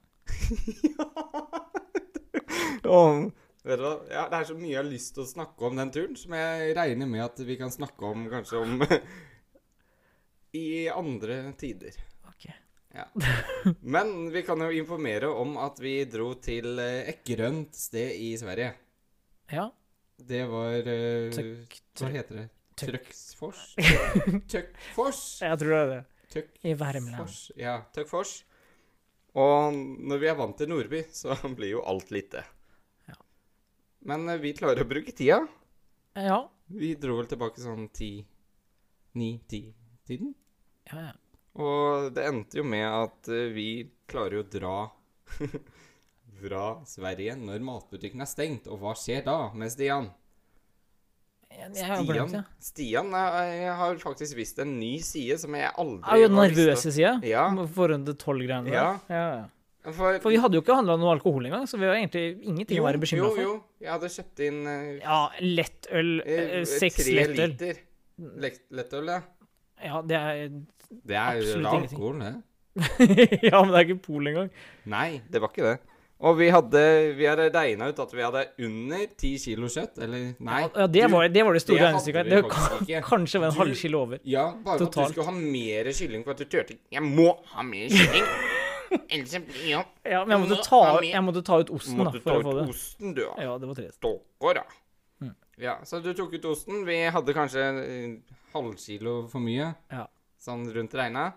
Speaker 2: Vet du hva? Ja, det er så mye jeg har lyst til å snakke om den turen, som jeg regner med at vi kan snakke om kanskje om I andre tider.
Speaker 1: Ok.
Speaker 2: Men vi kan jo informere om at vi dro til eh, et grønt sted i Sverige.
Speaker 1: Ja.
Speaker 2: Det var eh,
Speaker 1: Tøk-
Speaker 2: Hva heter det?
Speaker 1: tøk-
Speaker 2: Trøksfors? Tøkkfors?
Speaker 1: Jeg tror det er det.
Speaker 2: Tøkkfors.
Speaker 1: I Värmland.
Speaker 2: Ja, Tøkkfors. Og når vi er vant til Nordby, så blir jo alt lite.
Speaker 1: Ja.
Speaker 2: Men eh, vi klarer å bruke tida.
Speaker 1: Ja.
Speaker 2: Vi dro vel tilbake sånn ti Ni-ti-tiden.
Speaker 1: ja, ja.
Speaker 2: Og det endte jo med at eh, vi klarer jo å dra fra Sverige når matbutikken er stengt. Og hva skjer da med Stian?
Speaker 1: Jeg, jeg har glemt
Speaker 2: Stian,
Speaker 1: det.
Speaker 2: Stian eh, jeg har faktisk visst en ny side som jeg aldri
Speaker 1: Er Ah, jo den
Speaker 2: har visst
Speaker 1: nervøse sida.
Speaker 2: om. Ja,
Speaker 1: Forhånd til tolv-greiene. der.
Speaker 2: Ja.
Speaker 1: Ja, ja.
Speaker 2: for,
Speaker 1: For vi hadde jo ikke handla noe alkohol engang, så vi har egentlig ingenting å være bekymra
Speaker 2: Jo,
Speaker 1: for.
Speaker 2: jo, jeg hadde kjøpt inn eh,
Speaker 1: Ja, lettøl.
Speaker 2: eh,
Speaker 1: eh, Seks
Speaker 2: tre
Speaker 1: lettøl.
Speaker 2: liter lekt- lettøl, ja.
Speaker 1: Ja, det er
Speaker 2: Det er jo
Speaker 1: Absolutt ingenting.
Speaker 2: alkohol, det.
Speaker 1: Ja, men det er ikke pol engang.
Speaker 2: Nei, det var ikke det. Og vi hadde, vi hadde regna ut at vi hadde under ti kilo kjøtt. Eller nei.
Speaker 1: Ja, det,
Speaker 2: du-
Speaker 1: var, det var det store
Speaker 2: det hadde
Speaker 1: regnestykket.
Speaker 2: vi
Speaker 1: Det
Speaker 2: faktisk
Speaker 1: kan,
Speaker 2: ikke.
Speaker 1: kanskje var en
Speaker 2: Du-
Speaker 1: halvkilo over.
Speaker 2: Ja, bare for at
Speaker 1: Totalt.
Speaker 2: du skulle ha mer kylling for at du turte. Jeg må ha mer kylling! Ellers jeg blir jeg
Speaker 1: Ja, men jeg måtte
Speaker 2: Nå
Speaker 1: ta,
Speaker 2: har vi-
Speaker 1: jeg måtte ta ut osten Sånn da,
Speaker 2: Måtte ta
Speaker 1: for å
Speaker 2: ut
Speaker 1: få det.
Speaker 2: osten, du. da.
Speaker 1: Ja, det var trist.
Speaker 2: Stokker, da.
Speaker 1: Mm.
Speaker 2: Ja, så du tok ut osten. Vi hadde kanskje eh, halvkilo for mye,
Speaker 1: Ja.
Speaker 2: sånn rundt regna.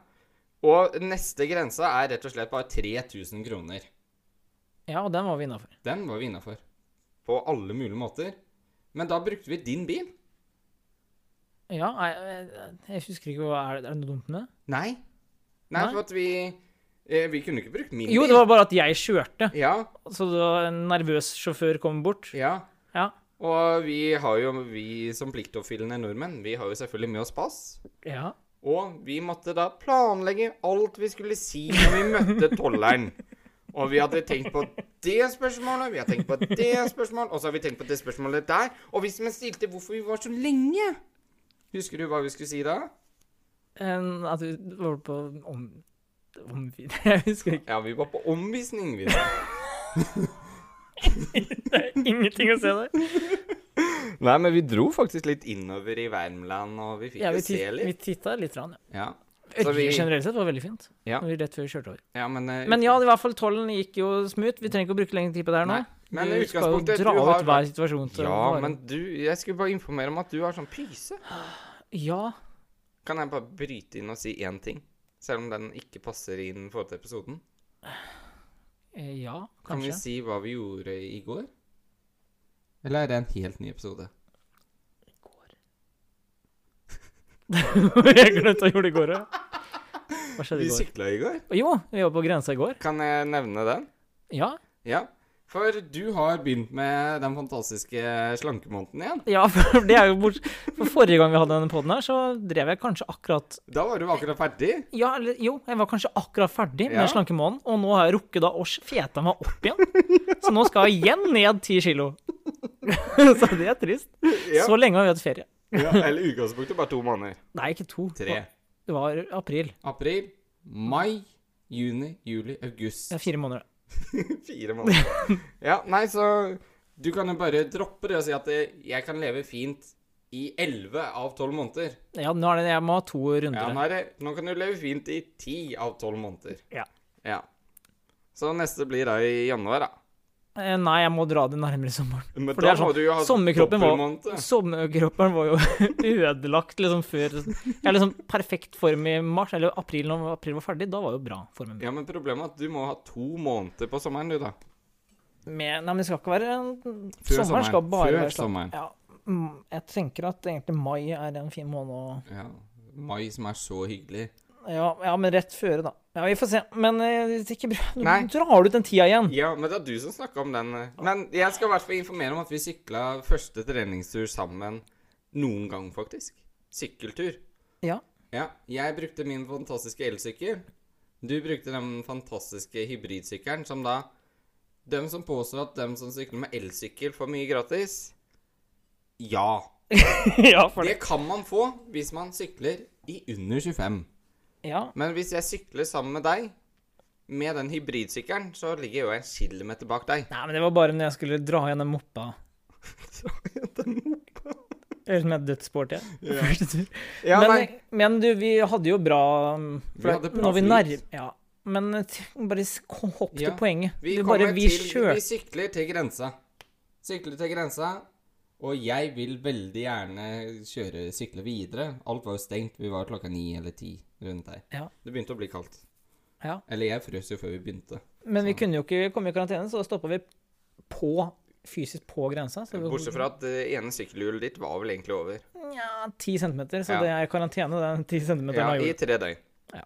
Speaker 2: Og neste grense er rett og slett bare 3000 kroner.
Speaker 1: Ja, og den var vi innafor.
Speaker 2: Den var vi innafor. På alle mulige måter. Men da brukte vi din bil.
Speaker 1: Ja, jeg, jeg, jeg husker ikke hva Er det, er det noe dumt med det?
Speaker 2: Nei. Nei,
Speaker 1: Nei.
Speaker 2: for at vi eh, Vi kunne ikke brukt min
Speaker 1: Jo,
Speaker 2: bil.
Speaker 1: det var bare at jeg kjørte,
Speaker 2: Ja,
Speaker 1: så det var en nervøs sjåfør kom bort.
Speaker 2: ja.
Speaker 1: Ja.
Speaker 2: Og vi har jo, vi som pliktoppfyllende nordmenn, vi har jo selvfølgelig med oss pass.
Speaker 1: Ja.
Speaker 2: Og vi måtte da planlegge alt vi skulle si når vi møtte tolleren. Og vi hadde tenkt på det spørsmålet, vi har tenkt på det spørsmålet, og så har vi tenkt på det spørsmålet der. Og hvis man stilte hvorfor vi var så lenge Husker du hva vi skulle si da?
Speaker 1: En, at vi var på om... om jeg husker ikke.
Speaker 2: Ja, vi var på omvisning, vi. da.
Speaker 1: Det er ingenting å se der.
Speaker 2: Nei, men vi dro faktisk litt innover i Värmland, og vi fikk
Speaker 1: Ja, vi,
Speaker 2: jo se
Speaker 1: titt, vi
Speaker 2: litt.
Speaker 1: titta litt. Rann, ja.
Speaker 2: Ja. Så vi-
Speaker 1: Øyet generelt sett var veldig fint.
Speaker 2: Ja.
Speaker 1: Når vi rett før vi kjørte over.
Speaker 2: Ja, men, eh,
Speaker 1: Men ja, i hvert fall tollen gikk jo smooth. Vi trenger ikke å bruke lengre tid på det her nå.
Speaker 2: Nei, men
Speaker 1: vi
Speaker 2: i
Speaker 1: skal jo
Speaker 2: utgangspunktet,
Speaker 1: dra
Speaker 2: du har-
Speaker 1: ut hver situasjon. til å
Speaker 2: Ja,
Speaker 1: vare.
Speaker 2: men du Jeg skulle bare informere om at du har sånn pyse.
Speaker 1: Ja,
Speaker 2: Kan jeg bare bryte inn og si én ting? Selv om den ikke passer inn i forhold til episoden.
Speaker 1: eh, ja,
Speaker 2: Kan vi
Speaker 1: kanskje.
Speaker 2: si hva vi gjorde i går? Eller er det en helt ny episode?
Speaker 1: jeg glemte å gjøre det i går. ja. Hva skjedde
Speaker 2: Vi
Speaker 1: i går?
Speaker 2: sykla i går.
Speaker 1: Jo, vi var på grensa i går.
Speaker 2: Kan jeg nevne den?
Speaker 1: Ja.
Speaker 2: Ja. For du har begynt med den fantastiske slankemåneden igjen.
Speaker 1: ja, for det er jo bort... For forrige gang vi hadde denne poden her, så drev jeg kanskje akkurat
Speaker 2: Da var du akkurat ferdig.
Speaker 1: Ja, eller jo, jeg var kanskje akkurat ferdig med
Speaker 2: Ja.
Speaker 1: slankemånen, og nå har jeg rukket da å feta meg opp igjen. Så nå skal jeg igjen ned ti kilo. så det er trist.
Speaker 2: Ja.
Speaker 1: Så lenge har vi hatt ferie.
Speaker 2: ja eller i utgangspunktet bare to måneder.
Speaker 1: Nei, ikke to.
Speaker 2: Tre.
Speaker 1: Det var april.
Speaker 2: April, mai, juni, juli, august.
Speaker 1: Det er fire måneder.
Speaker 2: Fire måneder. Ja, nei, så du kan jo bare droppe det og si at eh, jeg kan leve fint i 11 av 12 måneder.
Speaker 1: Ja, nå er det, jeg må ha to runder.
Speaker 2: Ja,
Speaker 1: her.
Speaker 2: nå, er det, nå kan du leve fint i 10 av 12 måneder.
Speaker 1: Ja.
Speaker 2: Ja. Så neste blir da i januar, da.
Speaker 1: Eh, Nei, jeg må dra det nærmere sommeren.
Speaker 2: Men
Speaker 1: For
Speaker 2: da
Speaker 1: det er
Speaker 2: må
Speaker 1: sånn,
Speaker 2: du jo ha
Speaker 1: sommerkroppen var-
Speaker 2: dobbeltmåned.
Speaker 1: Sommerkroppen var jo ødelagt liksom før Jeg er liksom perfekt form i mars, eller april, når april var ferdig. Da var jo bra formen min.
Speaker 2: Ja, men problemet er at du må ha to måneder på sommeren, du, da.
Speaker 1: Men, nei, men det skal ikke være Sommeren,
Speaker 2: sommeren.
Speaker 1: skal bare
Speaker 2: Før
Speaker 1: være slapp.
Speaker 2: sommeren.
Speaker 1: Ja, mm, jeg tenker at egentlig mai er en fin måned å
Speaker 2: Ja. Mai som er så hyggelig.
Speaker 1: ja, ja, men rett føre, da. Ja, Vi får se. Men eh, det er ikke bra. Nå
Speaker 2: Nei.
Speaker 1: drar du ut den tida igjen.
Speaker 2: Ja, men det er du som snakka om den. eh. Men jeg skal i hvert fall informere om at vi sykla første treningstur sammen noen gang, faktisk. Sykkeltur.
Speaker 1: Ja.
Speaker 2: Ja, Jeg brukte min fantastiske elsykkel. Du brukte den fantastiske hybridsykkelen, som da Dem som påstår at dem som sykler med elsykkel, får mye gratis Ja,
Speaker 1: ja, for det.
Speaker 2: Det kan man få hvis man sykler i under 25.
Speaker 1: Ja,
Speaker 2: Men hvis jeg sykler sammen med deg, med den hybridsykkelen, så ligger jo jeg en kilometer bak deg.
Speaker 1: Nei, men det var bare når jeg skulle dra igjen den moppa. Det høres ut som jeg er dødssporty.
Speaker 2: Ja.
Speaker 1: jeg.
Speaker 2: Ja,
Speaker 1: men, eh,
Speaker 2: nei.
Speaker 1: men du, vi hadde jo bra um,
Speaker 2: Vi hadde bra
Speaker 1: når vi
Speaker 2: flyt.
Speaker 1: nærm- Ja. Men eh, t- bare s- kom- hopp til
Speaker 2: Ja,
Speaker 1: poenget.
Speaker 2: Vi,
Speaker 1: du
Speaker 2: kommer
Speaker 1: bare, vi
Speaker 2: til, vi
Speaker 1: kjørte
Speaker 2: sykler til grensa. Sykler til grensa. Og jeg vil veldig gjerne kjøre, sykle videre. Alt var jo stengt. Vi var klokka ni eller ti rundt der.
Speaker 1: Ja.
Speaker 2: Det begynte å bli kaldt.
Speaker 1: Ja.
Speaker 2: Eller jeg frøs jo før vi begynte.
Speaker 1: Men vi kunne jo ikke komme i karantene, så da stoppa vi på fysisk på grensa. Så vi-
Speaker 2: Bortsett fra at det ene sykkelhjulet ditt var vel egentlig over.
Speaker 1: Nja, ti centimeter. Så
Speaker 2: Ja.
Speaker 1: det er karantene, den ti centimeteren
Speaker 2: Ja,
Speaker 1: har
Speaker 2: I
Speaker 1: gjort.
Speaker 2: tre døgn.
Speaker 1: Ja.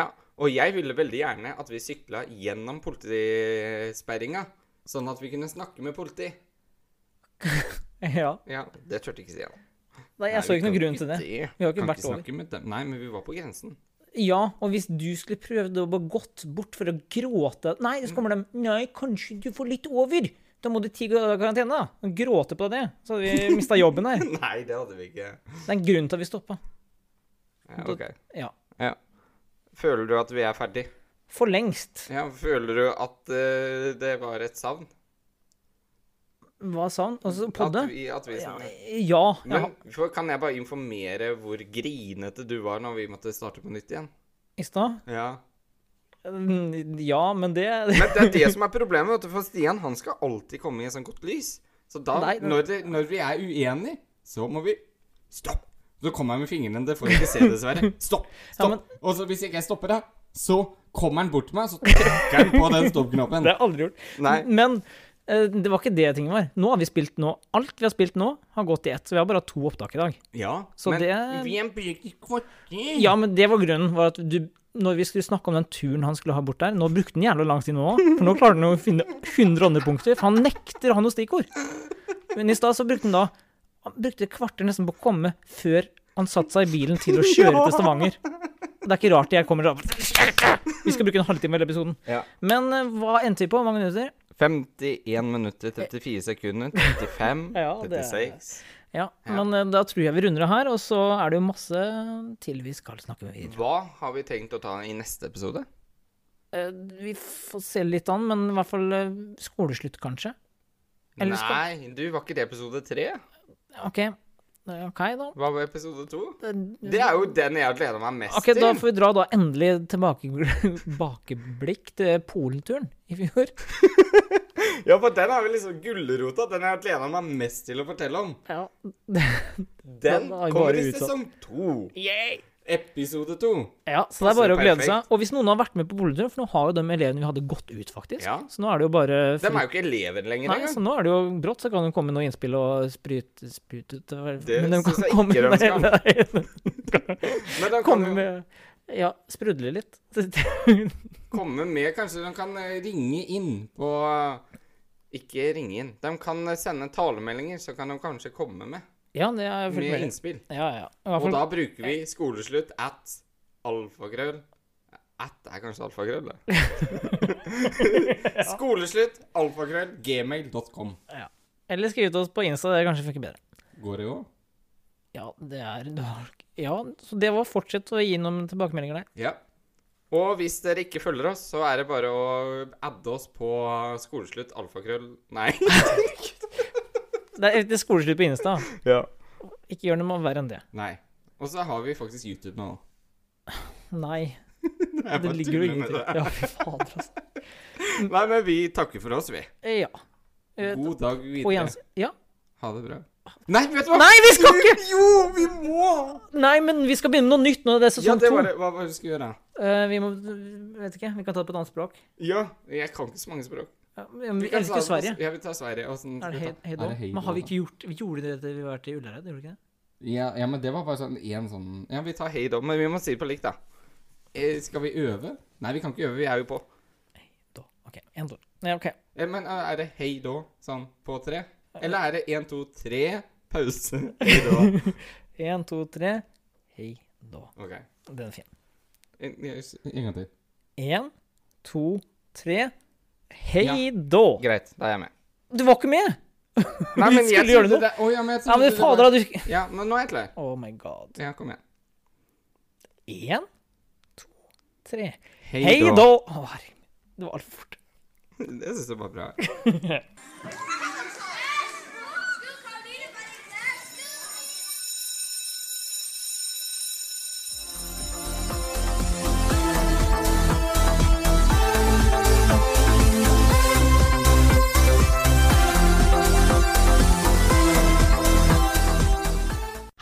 Speaker 2: ja. Og jeg ville veldig gjerne at vi sykla gjennom politisperringa, sånn at vi kunne snakke med politi.
Speaker 1: Ja.
Speaker 2: Ja, det turte ikke si han.
Speaker 1: Nei, jeg
Speaker 2: Nei,
Speaker 1: så
Speaker 2: vi
Speaker 1: ikke noen
Speaker 2: kan
Speaker 1: grunn til det. Vi har ikke
Speaker 2: Kan
Speaker 1: vært over.
Speaker 2: snakke med dem. Nei, men vi var på grensen.
Speaker 1: Ja, og hvis du skulle prøvd å bare gått bort for å gråte Nei, så kommer de Nei, kanskje du får litt over. Da må du ti dager karantene, da. Og Gråte på det. Så hadde vi mista jobben her.
Speaker 2: Nei, det hadde vi ikke.
Speaker 1: Det er en grunn til at vi stoppa.
Speaker 2: Ja, ok.
Speaker 1: Ja.
Speaker 2: Ja. Føler du at vi er ferdig?
Speaker 1: For lengst.
Speaker 2: Ja, føler du at eh, det var et savn?
Speaker 1: Hva sa han? Altså, podde?
Speaker 2: At vi, at vi
Speaker 1: Ja,
Speaker 2: savner-
Speaker 1: ja, ja.
Speaker 2: Men for, kan jeg bare informere hvor grinete du var når vi måtte starte på nytt igjen?
Speaker 1: I stad? Mm,
Speaker 2: Ja.
Speaker 1: Ja, men det
Speaker 2: Men det er det som er problemet, vet du, for Stian han skal alltid komme i et sånt godt lys. Så da,
Speaker 1: Nei, men-
Speaker 2: når, det, når vi er uenige, så må vi Stopp! Så kommer jeg med fingrene, det får jeg ikke se, dessverre. Stopp!
Speaker 1: Ja,
Speaker 2: Stopp!
Speaker 1: men-
Speaker 2: Og så hvis ikke jeg stopper deg, så kommer han bort til meg, så trykker han på den stoppknappen.
Speaker 1: Det har jeg aldri gjort.
Speaker 2: Nei.
Speaker 1: Men eh, det var ikke det tingen var. Nå har vi spilt nå. Alt vi har spilt nå, har gått i ett. Så vi har bare hatt to opptak i dag.
Speaker 2: Ja,
Speaker 1: Så
Speaker 2: men
Speaker 1: det-
Speaker 2: vi er en brukt kvarter.
Speaker 1: Ja, men det var grunnen. var at du, Når vi skulle snakke om den turen han skulle ha bort der Nå brukte han jævla lang tid nå òg, for nå klarte han å finne 100 åndepunkter. For han nekter å ha noe stikkord. Men i stad så brukte han da Han brukte et kvarter nesten på å komme før han satte seg i bilen til å kjøre til Stavanger. Det er ikke rart jeg kommer og Vi skal bruke en halvtime i hele episoden.
Speaker 2: Ja.
Speaker 1: Men eh, hva endte vi på? Hvor mange minutter?
Speaker 2: 51 minutter, 34 sekunder, 35,
Speaker 1: Ja, det er-
Speaker 2: 36.
Speaker 1: Ja,
Speaker 2: Ja.
Speaker 1: men eh, da tror jeg vi runder av her, og så er det jo masse til vi skal snakke med videre.
Speaker 2: Hva har vi tenkt å ta i neste episode?
Speaker 1: Eh, Vi får se litt an, men i hvert fall eh, skoleslutt, kanskje. Eller skal-
Speaker 2: Nei, du, var ikke det episode tre?
Speaker 1: OK. Eh, OK, da.
Speaker 2: Hva var episode to?
Speaker 1: Det-
Speaker 2: Det er jo den jeg har gleda meg mest
Speaker 1: OK, da
Speaker 2: til.
Speaker 1: får vi dra da endelig tilbake- tilbakeblikk til Polenturen i fjor.
Speaker 2: Ja, for den er vel liksom gulrota. Den jeg har gleda meg mest til å fortelle om.
Speaker 1: Ja.
Speaker 2: Den
Speaker 1: Den har jeg
Speaker 2: kommer
Speaker 1: bare
Speaker 2: i
Speaker 1: utsatt.
Speaker 2: sesong to. Episode to.
Speaker 1: ja, så det er bare å
Speaker 2: Passer
Speaker 1: glede
Speaker 2: perfekt.
Speaker 1: seg. Og hvis noen har vært med på Polenturen, for nå har jo de elevene vi hadde, gått ut, faktisk.
Speaker 2: Ja.
Speaker 1: Så nå er det jo bare
Speaker 2: De er jo ikke elever lenger
Speaker 1: Nei, så
Speaker 2: engang.
Speaker 1: nå er det jo brått, så kan det komme noen innspill og sprut... sprut ut,
Speaker 2: Det
Speaker 1: men de kan
Speaker 2: synes jeg
Speaker 1: komme
Speaker 2: ikke de skal.
Speaker 1: Nei,
Speaker 2: Men de kan
Speaker 1: Komme sånn-
Speaker 2: jo
Speaker 1: med Ja, sprudle litt.
Speaker 2: komme med Kanskje de kan eh, ringe inn på Ikke ringe inn. De kan eh, sende talemeldinger, så kan de kanskje komme med.
Speaker 1: Ja, det er jeg fullt
Speaker 2: Med
Speaker 1: med. i.
Speaker 2: innspill.
Speaker 1: Ja, ja. I hvert
Speaker 2: Og
Speaker 1: fall
Speaker 2: da bruker vi skoleslutt at alfakrøll At er kanskje alfakrøll, det. skoleslutt alfakrøll gmail.com.
Speaker 1: Eller skriv til oss på Insta, det kanskje funker bedre.
Speaker 2: Går det jo?
Speaker 1: Ja, det er du har- Ja, så det var fortsett å gi noen tilbakemeldinger der.
Speaker 2: Ja. Og hvis dere ikke følger oss, så er det bare å adde oss på skoleslutt alfakrøll Nei.
Speaker 1: Det er, det er skoleslutt på Insta.
Speaker 2: ja.
Speaker 1: Ikke gjør noe verre enn det.
Speaker 2: Nei. Og så har vi faktisk YouTube nå.
Speaker 1: Nei.
Speaker 2: Jeg
Speaker 1: Det
Speaker 2: bare
Speaker 1: ligger jo
Speaker 2: tuller med
Speaker 1: ingenting
Speaker 2: det.
Speaker 1: Ja, fy fader, altså.
Speaker 2: Nei, men vi takker for oss, vi.
Speaker 1: Ja. Eh,
Speaker 2: God dag
Speaker 1: Og
Speaker 2: videre.
Speaker 1: Jens Ja.
Speaker 2: Ha det bra. Nei, vet du hva!
Speaker 1: Nei, vi skal ikke!
Speaker 2: Jo, vi må!
Speaker 1: Nei, men vi skal begynne med noe nytt nå. Det er
Speaker 2: Ja,
Speaker 1: sesong
Speaker 2: det
Speaker 1: to.
Speaker 2: var det. Hva var det du skulle gjøre?
Speaker 1: Eh, vi må Vet ikke. Vi kan ta det på et annet språk.
Speaker 2: Ja, jeg kan ikke så mange språk.
Speaker 1: Ja, men vi
Speaker 2: kan ta
Speaker 1: elsker
Speaker 2: det-
Speaker 1: Sverige.
Speaker 2: Ja, vi tar Sverige. og sånn
Speaker 1: Er
Speaker 2: skal
Speaker 1: det
Speaker 2: vi
Speaker 1: hei,
Speaker 2: ta-
Speaker 1: hei
Speaker 2: Er det hei
Speaker 1: Men har vi
Speaker 2: då,
Speaker 1: ikke gjort Vi gjorde det etter vi var til Ullared, gjorde vi ikke det?
Speaker 2: da? ja, ja, men det var bare sånn én sånn Ja, vi tar hei då, men vi må si det på likt, da. Eh, skal vi øve? Nei, vi kan ikke øve, vi er jo på.
Speaker 1: Da. OK. En, to. Nei, OK.
Speaker 2: Eh, men eh, er det hei då, sånn på tre? Eller er det én, to, tre, pause, hei då?
Speaker 1: En, to, tre. Hei da.
Speaker 2: OK.
Speaker 1: Den er fin.
Speaker 2: En, en gang til.
Speaker 1: En, to, tre. Hei
Speaker 2: Ja.
Speaker 1: da!
Speaker 2: Greit, da er jeg med.
Speaker 1: Du var ikke med!
Speaker 2: Nei,
Speaker 1: Vi
Speaker 2: men jeg
Speaker 1: skulle gjøre
Speaker 2: trodde
Speaker 1: noe.
Speaker 2: det Å, ja, men jeg
Speaker 1: Ja,
Speaker 2: trodde
Speaker 1: men
Speaker 2: det
Speaker 1: fader,
Speaker 2: var
Speaker 1: da, du
Speaker 2: Ja, men nå er jeg klar.
Speaker 1: Oh my god.
Speaker 2: Ja, kom igjen.
Speaker 1: Én, to, tre Hei, da! Å, herregud. Det var altfor fort.
Speaker 2: Det syns jeg var bra.